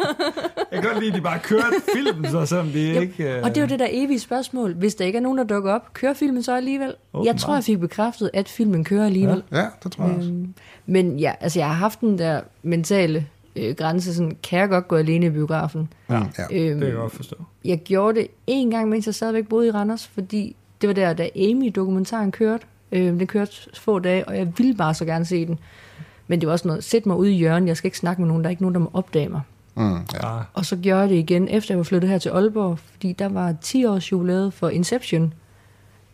S1: Jeg kan godt lide, at de bare kørte filmen, så selvom de ikke... øh,
S2: Og det er jo det der evige spørgsmål. Hvis der ikke er nogen, der dukker op, kører filmen så alligevel? Jeg
S1: Åbenbart.
S2: tror, jeg fik bekræftet, at filmen kører alligevel.
S3: Ja, det tror jeg også.
S2: Øhm, Men ja, altså jeg har haft den der mentale øh, grænse, sådan, kan jeg godt gå alene i biografen?
S1: Ja,
S3: Ja.
S1: det
S2: Øhm,
S1: kan jeg godt forstå.
S2: jeg gjorde det en gang, mens jeg stadigvæk boede i Randers, fordi det var der, da Amy-dokumentaren kørte. Øh, den kørte få dage, og jeg ville bare så gerne se den. Men det var også noget, sæt mig ude i hjørnet, jeg skal ikke snakke med nogen, der er ikke nogen, der må opdage mig.
S3: Mm, ja.
S1: Ja.
S2: Og så gjorde jeg det igen, efter jeg var flyttet her til Aalborg, fordi der var 10 års jubilæet for Inception.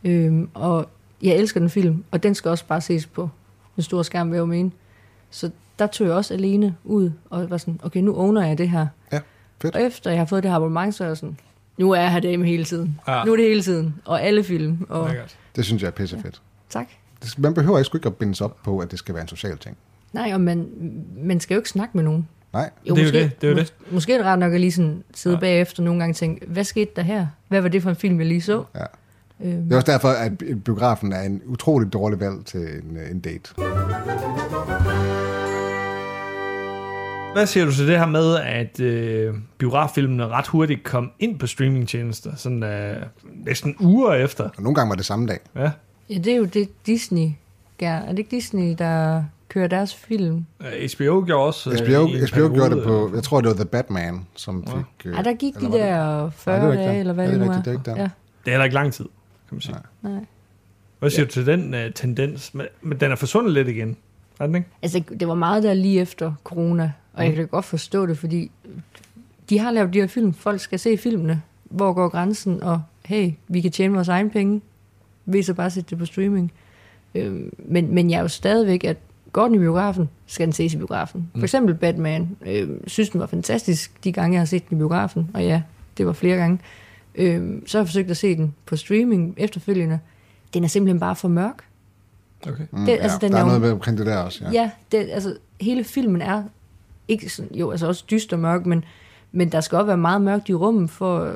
S2: Øhm, og jeg elsker den film, og den skal også bare ses på den store skærm, vil jeg jo mene. Så der tog jeg også alene ud, og var sådan, okay, nu owner jeg det her.
S3: Ja, fedt.
S2: Og efter jeg har fået det her abonnement, så er jeg sådan, nu er jeg her dame hele tiden.
S1: Ja.
S2: Ja. Nu er det hele tiden, og alle film, og
S1: Lækkert.
S3: Det synes jeg er pissefedt.
S2: tak.
S3: Det- Man behøver ikke sgu ikke at binde sig op på, at det skal være en social ting.
S2: Nej, og man, man skal jo ikke snakke med nogen.
S3: Nej,
S1: Det er jo det, det er jo det.
S2: mås- Måske er det rart nok at lige sådan sidde
S1: Ja.
S2: ja. bagefter nogle gange og tænke, hvad skete der her? Hvad var det for en film, jeg lige så?
S3: Ja.
S2: Øhm,
S3: det er også derfor, at bi- biografen er en utrolig dårlig valg til en, øh, en date.
S1: Hvad siger du til det her med, at øh, biograffilmene ret hurtigt kom ind på streamingtjenester, sådan øh, næsten uger efter?
S3: Og nogle gange var det samme dag.
S1: Ja.
S2: ja, det er jo det, Disney gør. Er det ikke Disney, der kører deres film?
S1: Øh, HBO gjorde også... øh,
S3: HBO,
S1: i en
S3: HBO gjorde det
S1: periode. øh,
S3: på, jeg tror, det var The Batman, som
S1: Ja.
S3: fik...
S2: Ja, der gik
S3: eller
S2: de
S3: var det-
S2: der 40
S3: Nej, det er ikke
S2: dage,
S3: der.
S2: eller hvad
S3: Ja,
S2: det
S3: det er
S2: nu er.
S3: rigtigt, det er ikke der.
S2: ja,
S1: Det er heller ikke lang tid, kan man sige.
S3: Nej.
S2: nej.
S1: Hvad siger du til den øh, tendens? Men, men den er forsvundet lidt igen, er den ikke?
S2: Altså, det var meget der lige efter corona, og jeg kan da godt forstå det, fordi de har lavet de her film. Folk skal se filmene. Hvor går grænsen? Og hey, vi kan tjene vores egen penge ved så bare at sætte det på streaming. Øhm, men, men jeg er jo stadigvæk, at går den i biografen, skal den ses i biografen. For eksempel Batman. Øhm, synes den var fantastisk, de gange jeg har set den i biografen. Og ja, det var flere gange. Øhm, så har jeg forsøgt at se den på streaming efterfølgende. Den er simpelthen bare for mørk.
S1: Okay.
S3: Mm,
S2: Det- altså,
S3: ja.
S2: den
S3: der
S2: er
S3: er
S2: jo-
S3: noget ved omkring det der også, ja.
S2: Ja, ja det, altså hele filmen er ikke sådan, jo, altså også dyst og mørk, men, men der skal også være meget mørkt i rummet, for
S3: Ja.
S2: ja.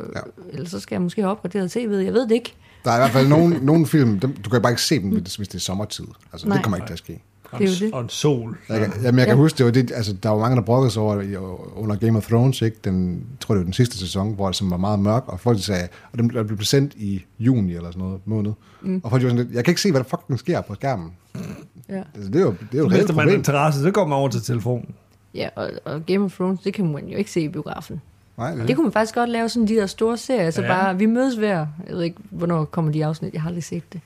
S2: ellers så skal jeg måske have opgraderet tv'et, jeg ved det ikke.
S3: Der er i hvert fald nogle, nogle film, dem, du kan bare ikke se dem, hvis, hvis det er sommertid. Altså, Nej. det
S2: Nej.
S3: kommer ikke til at ske.
S1: Og
S2: Det er
S1: en-
S2: jo det.
S1: Og en sol.
S3: Jeg kan, jamen, jeg kan
S2: Ja.
S3: huske, det var det, altså, der var mange, der brokkede sig over i- under Game of Thrones, ikke? Den, jeg tror, det var den sidste sæson, hvor det som var meget mørk, og folk sagde, og den blev blev sendt i juni eller sådan noget måned. Mm. Og folk var sådan lidt, jeg kan ikke se, hvad der fucking sker på skærmen.
S2: Ja.
S3: Altså, det er jo, det er jo et reelt
S1: Hvis man er
S3: problem.
S1: interesse, så går man over til telefonen.
S2: Ja, og, og Game of Thrones, det kan man jo ikke se i biografen.
S3: Nej, det, er
S2: Det
S3: det.
S2: kunne man faktisk godt lave sådan de der store serier, så
S1: Ja.
S2: ja. bare, vi mødes hver, jeg ved ikke, hvornår kommer de afsnit, jeg har aldrig set det.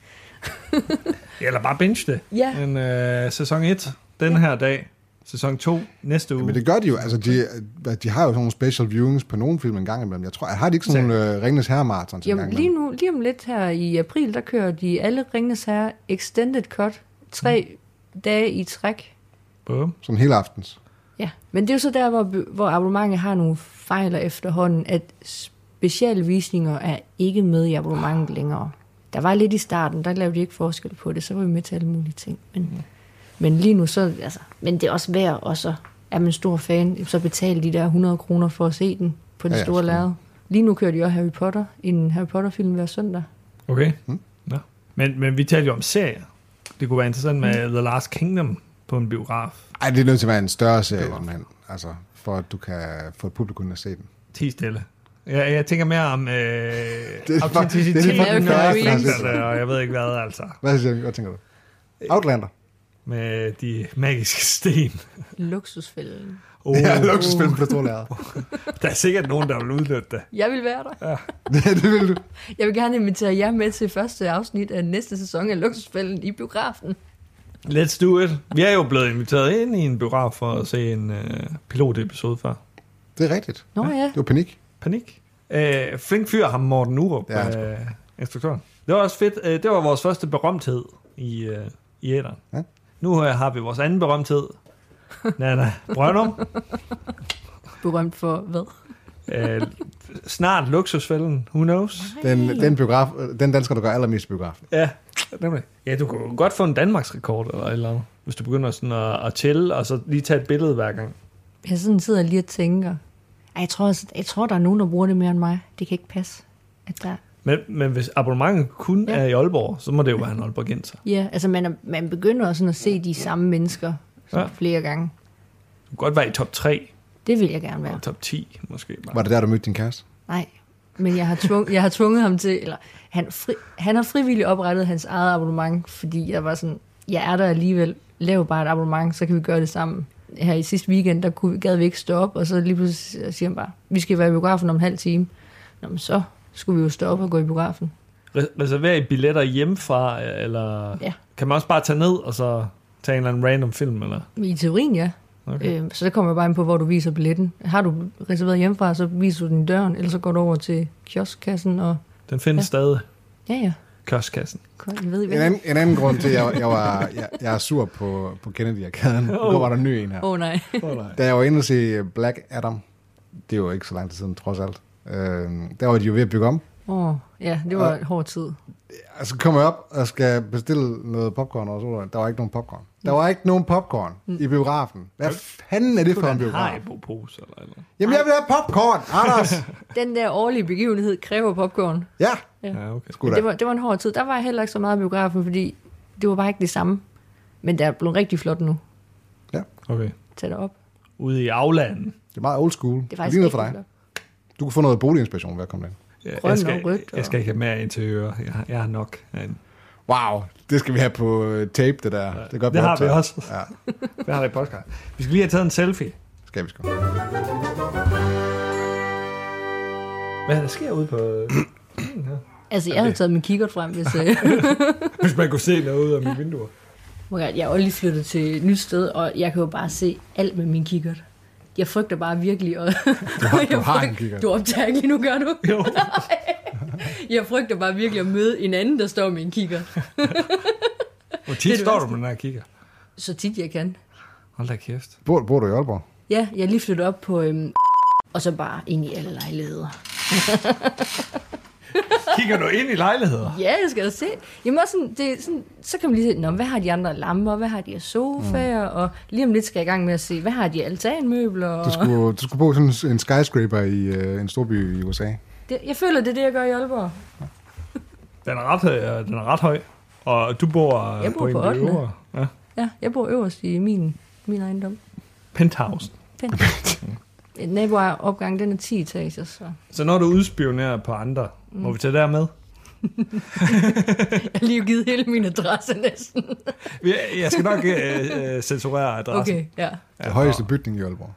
S1: Eller bare binge det.
S2: Ja.
S1: En øh, sæson 1, den her dag. Sæson 2 næste uge.
S3: Men det gør de jo. Altså, de, hvad, de har jo sådan nogle special viewings på nogle film en gang imellem. Jeg tror, har de ikke sådan nogle øh, Ringnes Herre-marathons en
S2: Jamen
S3: gang
S2: lige
S3: imellem?
S2: nu, lige om lidt her i april, der kører de alle Ringenes Herre Extended Cut tre dage i træk.
S1: Bum.
S3: Sådan hele aftens.
S2: Ja, men det er jo så der, hvor, hvor abonnementet har nogle fejler efterhånden, at specialvisninger er ikke med i abonnementet længere. Der var lidt i starten, der lavede de ikke forskel på det, så var vi med til alle mulige ting. Men, men lige nu, så, altså, men det er også værd, og så er man stor fan, så betale de der 100 kroner for at se den på den
S3: Ja,
S2: ja,
S3: ja,
S2: store
S3: selvfølgelig.
S2: lærred. Lige nu kører de også Harry Potter, en Harry Potter-film hver søndag.
S1: Okay.
S3: Mm.
S1: Nå. Men, men vi talte jo om serier. Det kunne være interessant med The Last Kingdom på en biograf.
S3: Ej, det er nødt til at være en større serie,
S1: Det var-
S3: simpelthen. Altså, for at du kan få et publikum til at se den.
S1: Ti stille. Jeg, jeg tænker mere om øh,
S3: det fucking
S1: autenticitet og
S2: færreste, der har set
S1: fængsel, og jeg ved ikke hvad altså.
S3: Hvad, siger, du? hvad tænker du? Outlander.
S1: Med de magiske sten.
S2: Luksusfælden.
S1: Oh,
S3: Ja, luksusfilm på det store lærred.
S1: der er sikkert nogen, der vil udnytte det.
S2: Jeg vil være der.
S3: det vil du.
S2: Jeg vil gerne invitere jer med til første afsnit af næste sæson af Luksusfælden i biografen.
S1: Let's do it. Vi er jo blevet inviteret ind i en biograf for at se en øh, pilotepisode før.
S3: Det er rigtigt.
S2: Nå ja,
S3: Det var panik.
S1: Panik. Øh, flink fyr ham, Morten Urup,
S3: Ja, han
S1: ja, øh, instruktøren. Det var også fedt. Øh, det var vores første berømthed i, øh, i æderen.
S3: Ja.
S1: Ja. Nu øh, har vi vores anden berømthed. Nana Brønum.
S2: berømt for hvad?
S1: øh, snart luksusfælden. Who knows?
S3: Den, den, biograf, den dansker, der gør allermest i biografen.
S1: Ja, nemlig. Ja, du kunne godt få en Danmarks rekord eller et eller andet, hvis du begynder sådan at, at tælle, og så lige tage et billede hver gang.
S2: Jeg sådan sidder lige og tænker. Ej, jeg tror, også- jeg tror, der er nogen, der bruger det mere end mig. Det kan ikke passe. At der...
S1: Men, men hvis abonnementet kun
S2: Ja.
S1: ja. er i Aalborg, så må det jo være en Aalborgenser.
S2: Ja, altså man, er, man begynder sådan at se de samme mennesker ja.
S1: Ja.
S2: flere gange.
S1: Du kan godt være i top 3,
S2: Det vil jeg gerne
S1: ja.
S2: være.
S1: top 10 måske. Bare.
S3: Var det der, du mødte din kæreste?
S2: Nej, men jeg har, tvung, jeg har tvunget ham til, eller han, fri, han har frivilligt oprettet hans eget abonnement, fordi jeg var sådan, jeg er der alligevel, lav bare et abonnement, så kan vi gøre det sammen. Her i sidste weekend, der kunne, gad vi ikke stå op, og så lige pludselig siger han bare, vi skal være i biografen om en halv time. Nå, men så skulle vi jo stå op og gå i biografen.
S1: Re- Reserverer I billetter hjemmefra, øh, eller
S2: Ja.
S1: kan man også bare tage ned og så tage en eller anden random film? Eller?
S2: I teorien, ja.
S1: Okay.
S2: Øh, så det kommer bare ind på, hvor du viser billetten. Har du reserveret hjemmefra, så viser du den i døren, eller så går du over til kioskkassen og...
S1: Den findes
S2: ja.
S1: ja. stadig.
S2: Ja, ja.
S1: Kørskassen.
S2: Kom, I ved, I
S3: En
S2: hvad.
S3: anden, en anden grund til, at jeg, jeg, var, jeg, jeg er sur på, på Kennedy-arkaden. Oh. Nu var der en ny en her.
S2: Åh oh, nej.
S3: Da jeg var inde og se Black Adam, det er jo ikke så lang tid siden, trods alt, øh, der var de jo ved at bygge om.
S2: Åh, oh, ja, det var en hård tid.
S3: Og så kommer jeg op og skal bestille noget popcorn og sådan Der var ikke nogen popcorn. Der var ikke nogen popcorn i biografen. Hvad fanden er det for en biograf?
S1: på pose eller, eller.
S3: Jamen, jeg vil have popcorn, Anders!
S2: Den der årlige begivenhed kræver popcorn.
S3: Ja,
S2: Ja.
S1: Ja, okay.
S3: sgu da.
S2: Det var, det var en hård tid. Der var jeg heller ikke så meget i biografen, fordi det var bare ikke det samme. Men der er blevet rigtig flot nu.
S1: okay.
S2: Tag dig op.
S1: Ude i aflanden.
S3: Det er meget old school.
S2: Det er
S3: Det,
S2: faktisk
S3: lige noget for
S2: rigtig
S3: dig. Du kan få noget boliginspiration ved at komme ind.
S1: Ja,
S2: Grøn
S1: jeg,
S2: og
S1: skal,
S2: rødt og-
S1: jeg skal ikke have mere interiør. Jeg, har- jeg har nok. herinde.
S3: Wow, det skal vi have på øh, tape, det der. Det,
S1: Det har vi også.
S3: Ja,
S1: Hvad har det i podcast? Vi skal lige have taget en selfie.
S3: skal vi sgu.
S1: Hvad er der sker ude på...
S2: flot. Altså, jeg havde taget min kikkert frem, hvis... øh,
S1: Hvis man kunne se noget ud af mine vinduer.
S2: Må jeg- jeg er jo lige flyttet til et nyt sted, og jeg kan jo bare se alt med min kikkert. Jeg frygter bare virkelig, og du har,
S3: du har en kikkert.
S2: Du optager ikke lige nu, gør du?
S1: Jo.
S2: Jeg frygter bare virkelig at møde en anden, der står med en kikkert.
S1: Hvor
S2: Det er
S1: tit
S2: det
S1: står du
S2: værste.
S1: med den her kigger?
S2: Så tit jeg kan.
S1: Hold da kæft.
S3: Bor, bor du i Aalborg?
S2: Ja, jeg er lige flyttet op på... Øhm, og så bare ind i alle lejligheder.
S1: Kigger du ind i lejligheder?
S2: Ja, jeg skal da se. Jamen også sådan, det, er sådan, så kan man lige se, Nå, hvad har de andre af lamper, hvad har de af sofaer, mm. og lige om lidt skal jeg i gang med at se, hvad har de af altanmøbler. Og...
S3: Du skulle, du skulle bo i sådan en skyscraper i øh, en storby i USA.
S2: Det, jeg føler, det er det, jeg gør i Aalborg.
S1: Den er ret, øh, den er ret høj. Og du bor, øh,
S2: Jeg bor
S1: en
S2: på
S1: af de
S2: ottende.
S1: øvre. Ja.
S2: Ja, jeg bor øverst i min, min ejendom.
S1: Penthouse.
S2: Den. Naboopgang, den er 10 etager, så
S1: Så når du udspionerer på andre, mm. må vi tage der med?
S2: jeg har lige givet hele min adresse næsten.
S1: Vi- Jeg skal nok øh, øh, censurere adressen.
S2: Okay, Mm. ja.
S3: Den højeste bygning i Aalborg.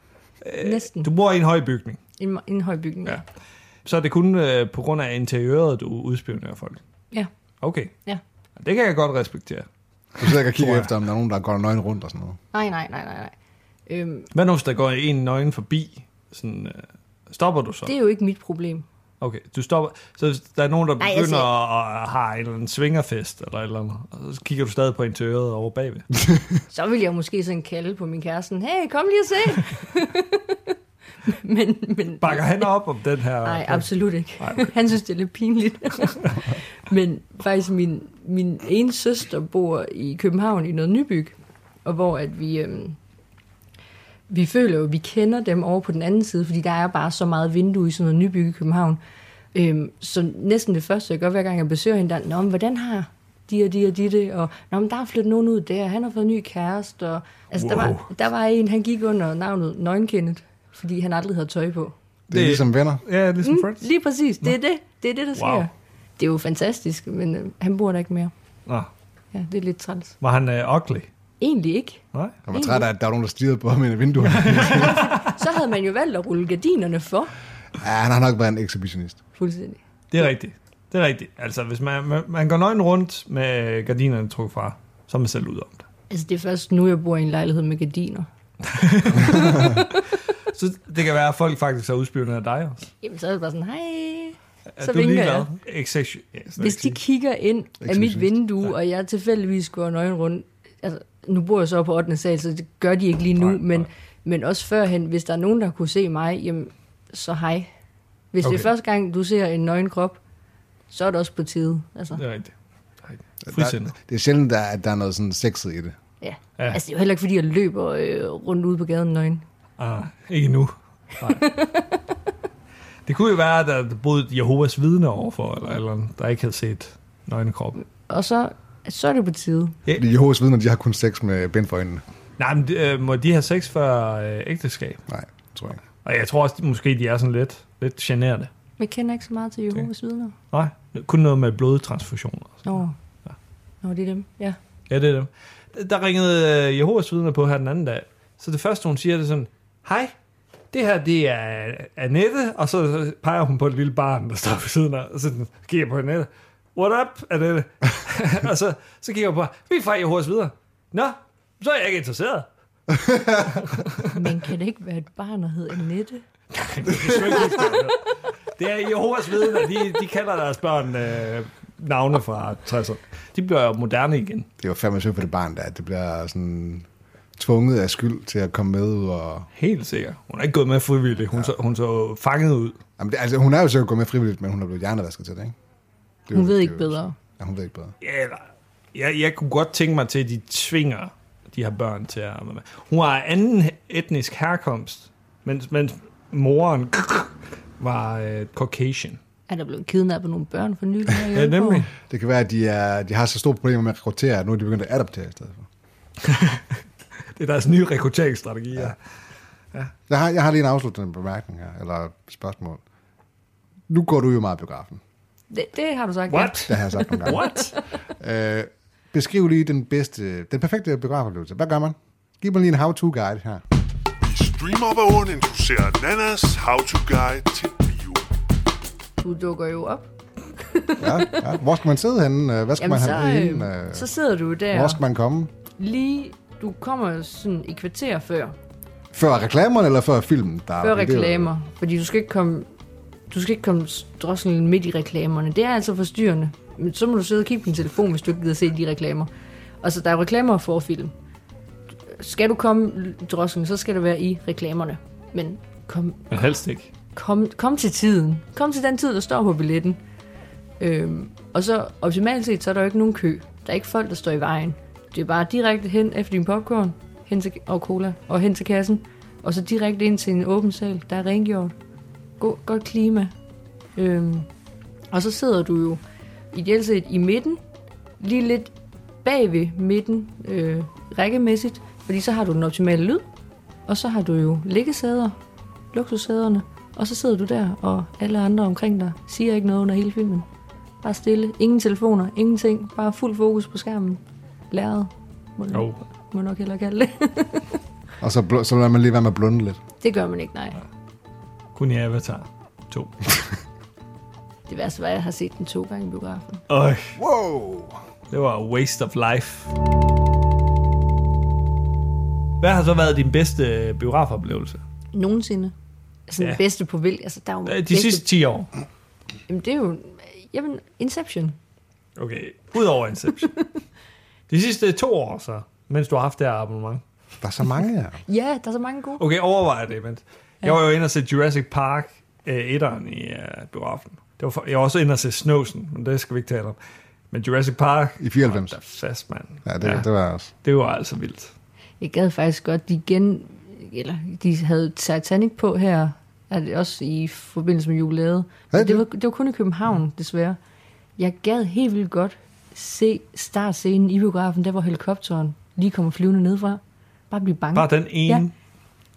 S2: Næsten.
S1: Du bor i en høj bygning.
S2: En, en høj bygning.
S1: Ja. Så er det kun øh, på grund af interiøret, du udspionerer folk?
S2: Ja.
S1: Okay.
S2: Ja.
S1: Det kan jeg godt respektere.
S3: Du sidder ikke og kigger
S1: Tror jeg.
S3: efter, om der er nogen, der går nøgen rundt og sådan noget.
S2: Nej, nej, nej, nej, nej. Øhm,
S1: Hvad nu, hvis der går en nøgen forbi? Sådan, øh, stopper du så?
S2: det er jo ikke mit problem.
S1: Okay, du stopper. Så hvis der er nogen, der
S2: Nej, altså-
S1: Nej,
S2: jeg
S1: begynder at, at have en eller anden svingerfest, eller et eller andet, og så kigger du stadig på en til øret over bagved.
S2: Så vil jeg måske sådan kalde på min kæreste, hey, kom lige og se. men, men,
S1: Bakker han op om den her?
S2: Nej, absolut ikke.
S1: Nej,
S2: Han synes, det er lidt pinligt. Men faktisk, min, min ene søster bor i København i noget nybyg, og hvor at vi, øhm, vi føler jo, at vi kender dem over på den anden side, fordi der er bare så meget vindue i sådan noget nybyg i København. Øhm, så næsten det første, jeg gør hver gang, jeg besøger hende, der er, Nå, men hvordan har de og de og de det, og Nå, men der er flyttet nogen ud der, han har fået en ny kæreste, og altså, der,
S1: Wow.
S2: var, der var en, han gik under navnet Nøgenkendet, fordi han aldrig havde tøj på.
S3: Det er
S1: Det-
S3: ligesom venner.
S1: Ja, ligesom mm,
S2: Mm,
S1: Friends.
S2: lige præcis, det er det. Det er det, der sker.
S1: Wow.
S2: Det er jo fantastisk, men øh, han bor der ikke mere.
S1: Nå,
S2: Ja, det er lidt træls.
S1: var han øh, ugly?
S2: Egentlig ikke.
S1: Nej?
S3: Jeg var træt af, at der var nogen, der stirrede på ham i vinduerne.
S2: Så havde man jo valgt at rulle gardinerne for.
S3: ja, han har nok været en ekshibitionist.
S2: Fuldstændig.
S1: Det er rigtigt. Det er rigtigt. Altså, hvis man, man, man går nøgen rundt med gardinerne trukket fra, så er man selv ud om det.
S2: Altså, det er først nu, jeg bor i en lejlighed med gardiner.
S1: Så det kan være, at folk faktisk er udspioneret af dig også.
S2: Jamen, så er det bare sådan, hej.
S1: Er
S2: Så
S1: du
S2: vinker
S1: ligeglad?
S2: jeg.
S1: Exception- ja, sådan
S2: Hvis de
S1: ikke sige.
S2: kigger ind af mit
S3: synes-
S2: vindue, og jeg tilfældigvis går nøgen rundt, altså, nu bor jeg så på 8. sal, så det gør de ikke lige nu,
S1: Nej, nej.
S2: men, men også førhen, hvis der er nogen, der kunne se mig, jamen, så hej. Hvis okay. det
S1: Okay.
S2: er første gang, du ser en nøgen krop, så er det også på tide. Altså,
S1: Det er rigtigt. Det er rigtigt.
S3: Der,
S1: Frisindet.
S3: det er sjældent, der, at der er noget sådan sexet i det.
S2: ja.
S1: Ja.
S2: altså, det er jo heller ikke, fordi jeg løber øh, rundt ude på gaden nøgen.
S1: Ah, ikke nu. Nej. det kunne jo være, at der boede Jehovas vidne overfor, eller, et eller andet, der ikke havde set nøgnekroppen.
S2: Og så, så er det på tide.
S3: Fordi Jehovas vidner, de har kun sex med bind for øjnene.
S1: Nej, men øh, må de have sex før øh, ægteskab?
S3: Nej, tror jeg ikke.
S1: Og jeg tror også, de- måske de er sådan lidt, lidt generede.
S2: Men jeg kender ikke så meget til Jehovas vidner.
S1: Nej, kun noget med blodtransfusioner.
S2: Nå. Nå, det er dem. Ja.
S1: Ja, det er dem. Der ringede øh, Jehovas vidner på her den anden dag. Så det første, hun siger, det er sådan, hej, det her, det er øh, Annette, og så peger hun på et lille barn, der står ved siden af, og så kigger jeg på Annette. What up, Annette? og så, så kigger jeg på, vi er fra Jehovas vidner. Nå, så er jeg ikke interesseret.
S2: Man kan det ikke være et barn, der hedder Annette.
S1: Det er Jehovas vidner, de, de kalder deres børn øh, navne fra 60'erne. De bliver jo moderne igen.
S3: Det var fandme synd for det barn, der det bliver sådan tvunget af skyld til at komme med ud. Og...
S1: Helt sikkert. Hun er ikke gået med frivilligt. Hun, ja. så, hun så fanget ud.
S3: Jamen, det, altså, hun er jo sikkert gået med frivilligt, men hun er blevet hjernevasket til det, ikke? Det er
S2: Hun
S3: jo-
S2: ved
S3: det er
S2: ikke
S3: jo-
S2: bedre.
S3: Ja, hun ved ikke bedre.
S1: Ja, Eller, jeg, jeg kunne godt tænke mig til, at de tvinger de her børn til at være med. Hun har anden etnisk herkomst, mens, mens moren var øh, Caucasian.
S2: Er der blevet kidnappet nogle børn for nylig? her i
S1: Ja,
S2: Aalborg?
S1: nemlig.
S3: Det kan være, at de, er, de har så store problemer med at rekruttere, at nu er de begyndt at adoptere i stedet for.
S1: Det er deres nye rekrutteringsstrategi. Ja.
S3: Jeg har, jeg har lige en afsluttende bemærkning her, eller spørgsmål. Nu går du jo meget i biografen.
S2: Det, det har du sagt.
S1: What?
S3: Det har jeg sagt nogle gange.
S1: What?
S3: Øh, beskriv lige den bedste, den perfekte biografoplevelse. Hvad gør man? Giv mig lige en how-to-guide her.
S4: I streamerbogen introducerer Nanas How To Guide til bio.
S2: Ja. Du dukker jo op.
S3: Ja, ja. Hvor skal man sidde henne? Øh, Hvad skal
S2: Jamen,
S3: man
S2: så,
S3: have med inden?
S2: øh,
S3: Øh,
S2: så sidder du
S3: Hvor
S2: der.
S3: skal man komme?
S2: Lige, du kommer sådan i kvarter før.
S3: Før reklamerne eller før filmen? Der
S2: Før
S3: det er jo-
S2: reklamer. Fordi du skal ikke komme... Du skal ikke komme drosselen midt i reklamerne. Det er altså forstyrrende. Men så må du sidde og kigge på din telefon, hvis du ikke gider se de reklamer. Altså, der er jo reklamer for film. Skal du komme drosselen, så skal det være i reklamerne. Men kom,
S1: Men helst ikke.
S2: kom, kom til tiden. Kom til den tid, der står på billetten. Øhm, og så optimalt set, så er der jo ikke nogen kø. Der er ikke folk, der står i vejen. Det er bare direkte hen efter din popcorn hen til, og cola, og hen til kassen. Og så direkte ind til en åben sal, der er rengjort. God, godt klima. Øhm, og så sidder du jo ideelt set i midten, lige lidt bag ved midten øh, rækkemæssigt, fordi så har du den optimale lyd, og så har du jo liggesæder, luksussæderne, og så sidder du der, og alle andre omkring dig siger ikke noget under hele filmen. Bare stille, ingen telefoner, ingenting, bare fuld fokus på skærmen. Læret, må jeg
S1: Jo.
S2: må jeg nok hellere kalde det.
S3: Og så, bl- så lader man lige være med at blunde lidt.
S2: Det gør man ikke, nej.
S1: Kun i Avatar 2.
S2: Det værste var, at jeg har set den to gange i biografen.
S1: Øj,
S3: Wow!
S1: det var a waste of life. Hvad har så været din bedste øh, biografoplevelse?
S2: Nogensinde. Altså
S1: Ja.
S2: den bedste på vild. Altså, der er jo
S1: Øh, De
S2: bedste-
S1: sidste 10 år.
S2: Jamen, det er jo... Jamen, Inception.
S1: Okay, udover Inception. De sidste to år så, mens du har haft det her abonnement.
S3: Der er så mange her.
S2: Ja, der er så mange gode.
S1: Okay, overvej det, men jeg var jo inde og se Jurassic Park øh, etteren i øh, biografen. Det var for, jeg var også inde og se Snowsen, men det skal vi ikke tale om. Men Jurassic Park...
S3: I 94.
S1: Hold da fast, mand.
S3: Ja, det, ja. det var også.
S1: det var altså vildt.
S2: Jeg gad faktisk godt, de igen... Eller, de havde Titanic på her. Er det også i forbindelse med jubilæet.
S3: Havde
S2: Men
S3: de?
S2: det, var, det var kun i København, desværre. Jeg gad helt vildt godt se startscenen i biografen, der hvor helikopteren lige kommer flyvende nedfra. Bare blive bange.
S1: Bare den ene,
S2: Ja, det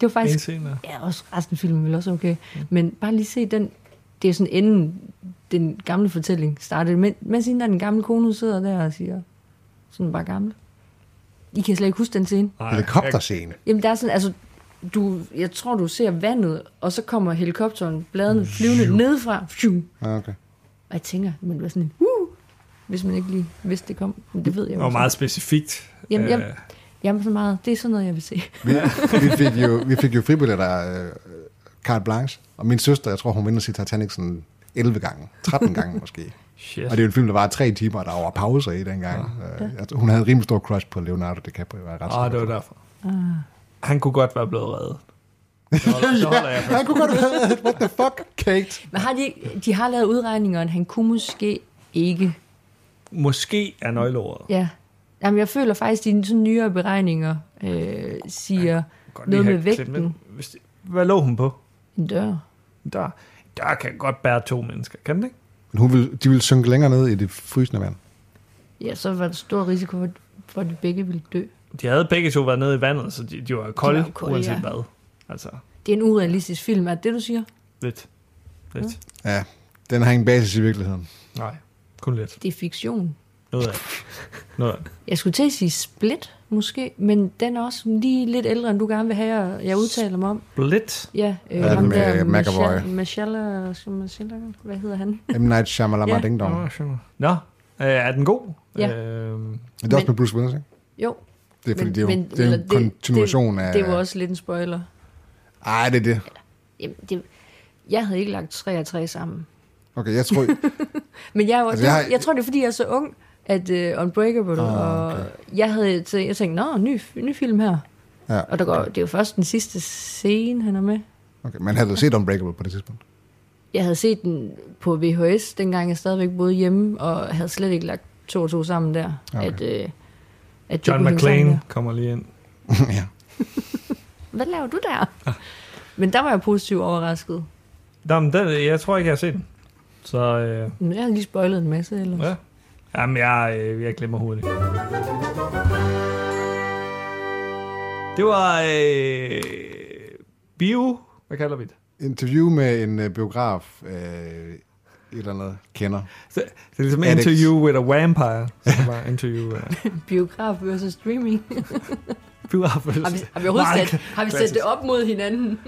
S2: var
S1: ene
S2: faktisk
S1: scene der.
S2: Ja, også resten af filmen vil også okay. Men bare lige se den, det er sådan inden den gamle fortælling startede, men, men siden der den gamle kone sidder der og siger, sådan bare gammel. I kan slet ikke huske den scene.
S1: Nej,
S3: Helikopterscene.
S2: Jamen der er sådan, altså, du, jeg tror du ser vandet, og så kommer helikopteren bladende flyvende nedefra. Fju.
S3: Ja, okay.
S2: Og jeg tænker, man bliver sådan, uh, hvis man ikke lige vidste det kom. Men det ved jeg
S1: Det
S2: jo.
S1: var
S2: også.
S1: meget specifikt.
S2: Jamen,
S1: Øh,
S2: jeg, jamen så meget, det er sådan noget, jeg vil se.
S3: Vi, vi, fik jo, vi fik jo fribilletter af øh, carte blanche, og min søster, jeg tror, hun vendte sig Titanic sådan 11 gange, 13 gange måske.
S1: shit.
S3: Og det er jo en film, der var tre timer, og der var pauser i dengang. Ja. Øh, jeg tror, hun havde en rimelig stor crush på Leonardo DiCaprio. Jeg er ret
S1: Ah,
S3: sikker
S1: det var
S3: på.
S1: derfor. Ah. Han kunne godt være blevet reddet. Det holder, det holder jeg på.
S3: Han kunne godt have what the fuck, Kate?
S2: Men har de, ikke- de har lavet udregninger, og han kunne måske ikke
S1: Måske er nøgleordet.
S2: Ja. Jamen, jeg føler faktisk, at de sådan nyere beregninger øh, siger
S1: Godt lige
S2: noget med
S1: have klemt lidt.
S2: vægten.
S1: Hvis det, hvad lå hun på?
S2: En dør.
S1: Der, der kan godt bære to mennesker, kan det ikke?
S3: Men hun ville, de ville synke længere ned i det frysende vand.
S2: Ja, så var der stor risiko for, for at de begge ville dø.
S1: De havde begge to været nede i vandet, så de, de var kolde,
S2: var jo kolde,
S1: uanset
S2: ja.
S1: hvad. Altså,
S2: Det er en urealistisk film, er det det, du siger?
S1: lidt. Lidt.
S3: Ja, den har ingen basis i virkeligheden.
S1: Nej, kun lidt.
S2: Det er fiktion.
S1: Noget af det. Noget af det.
S2: Jeg skulle til at sige Split, måske, men den er også lige lidt ældre, end du gerne vil have, jeg, jeg udtaler mig om.
S1: Lidt.
S2: Ja, øh,
S3: Ja, med McAvoy.
S2: Mashallah- Mashallah, Mashallah, hvad hedder han?
S3: M. Night Shyamalan
S2: Ja.
S3: ja. Ding Dong.
S1: Nå, Nå, øh, er den god?
S2: Ja.
S1: Øhm,
S3: Men det er også
S2: Men-
S3: med Bruce Willis, ikke?
S2: Jo,
S3: Det er fordi,
S2: Men-
S3: det er jo
S2: men-
S3: det er jo
S2: eller
S3: en
S2: det-
S3: kontinuation af...
S2: det var også lidt en spoiler.
S3: Ej, det er det.
S2: Jamen, det, jeg havde ikke lagt 3 og 3 sammen.
S3: Okay, jeg tror...
S2: Men jeg, altså,
S3: Altså, jeg
S2: jeg,
S3: har-
S2: det, jeg tror, det er, fordi jeg er så ung, at uh, Unbreakable,
S3: Ah,
S2: og jeg, havde, så jeg tænkte, nå, ny, ny film her.
S3: Ja.
S2: Og der går, det er jo først den sidste scene, han er med.
S3: Okay, man havde jo set Unbreakable på det tidspunkt.
S2: Jeg havde set den på VHS, dengang jeg stadigvæk boede hjemme, og havde slet ikke lagt to og to sammen der.
S3: Okay.
S2: Okay. At, øh, at det
S1: John
S2: kunne hænge sammen
S1: McClane
S2: der.
S1: kommer lige ind.
S3: ja.
S2: Hvad laver du der? Men der var jeg positivt overrasket.
S1: Nå, men den, jeg tror ikke, jeg har set den. Så øh,
S2: Men Jeg har lige spoilet en masse. Eller?
S1: ja. Jamen, jeg, øh, jeg glemmer hurtigt. Det var øh, bio... Hvad kalder vi det?
S3: Interview med en uh, biograf, øh, et eller andet, kender.
S1: Det, det er ligesom
S3: Addict.
S1: Interview with a Vampire. Så det var interview... Uh,
S2: Biograf versus streaming.
S1: biograf.
S2: har vi, har vi, overhovedet sat, har vi sat det op mod hinanden?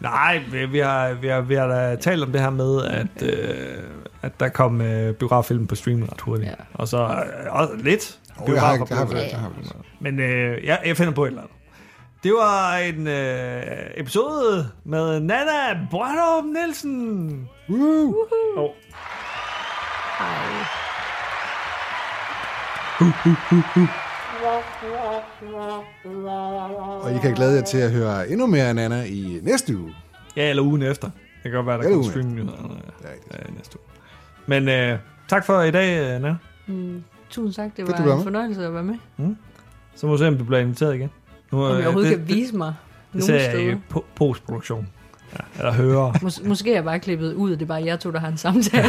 S1: Nej, vi, vi, har, vi, har, vi har da talt om det her med, at, øh, at der kom øh, biograffilm på stream ret hurtigt. Ja.
S2: Ja.
S1: Og så øh, også lidt
S3: Oh, jeg har ikke, det har vi,
S1: biografoplevelser.
S3: det har vi.
S1: Men øh, jeg, jeg finder på et eller andet. Det var en øh, episode med Nana Brøndum Nielsen.
S3: Woo!
S1: Og
S2: Ej.
S3: Og I kan glæde jer til at høre endnu mere af Nana i næste uge.
S1: ja, eller ugen efter. Det kan godt være, der
S3: Eller
S1: kommer
S3: ugen
S1: streaming
S3: Det er rigtigt.
S1: øh, næste uge. Men øh, tak for i dag, øh, Nana.
S2: Mm, tusind tak, det
S3: Fedt, du var
S2: var
S3: med.
S2: en fornøjelse at være med.
S1: Så må vi se, om du bliver inviteret igen. Nu,
S2: Om jeg
S1: øh,
S2: overhovedet
S1: det-
S2: kan
S1: det-
S2: vise mig
S1: Det
S2: nogen
S1: ser jeg
S2: steder.
S1: i po- postproduktion. Ja, eller høre.
S2: Mås- måske er jeg bare klippet ud, og det er bare jer to, der har en samtale.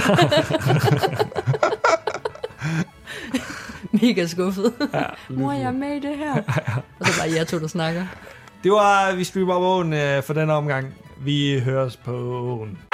S2: Mega skuffet. Mor, jeg er med i det her. Og så bare jer to, der snakker.
S1: Det var, vi streamer vågen øh, for denne omgang. Vi høres på vågen.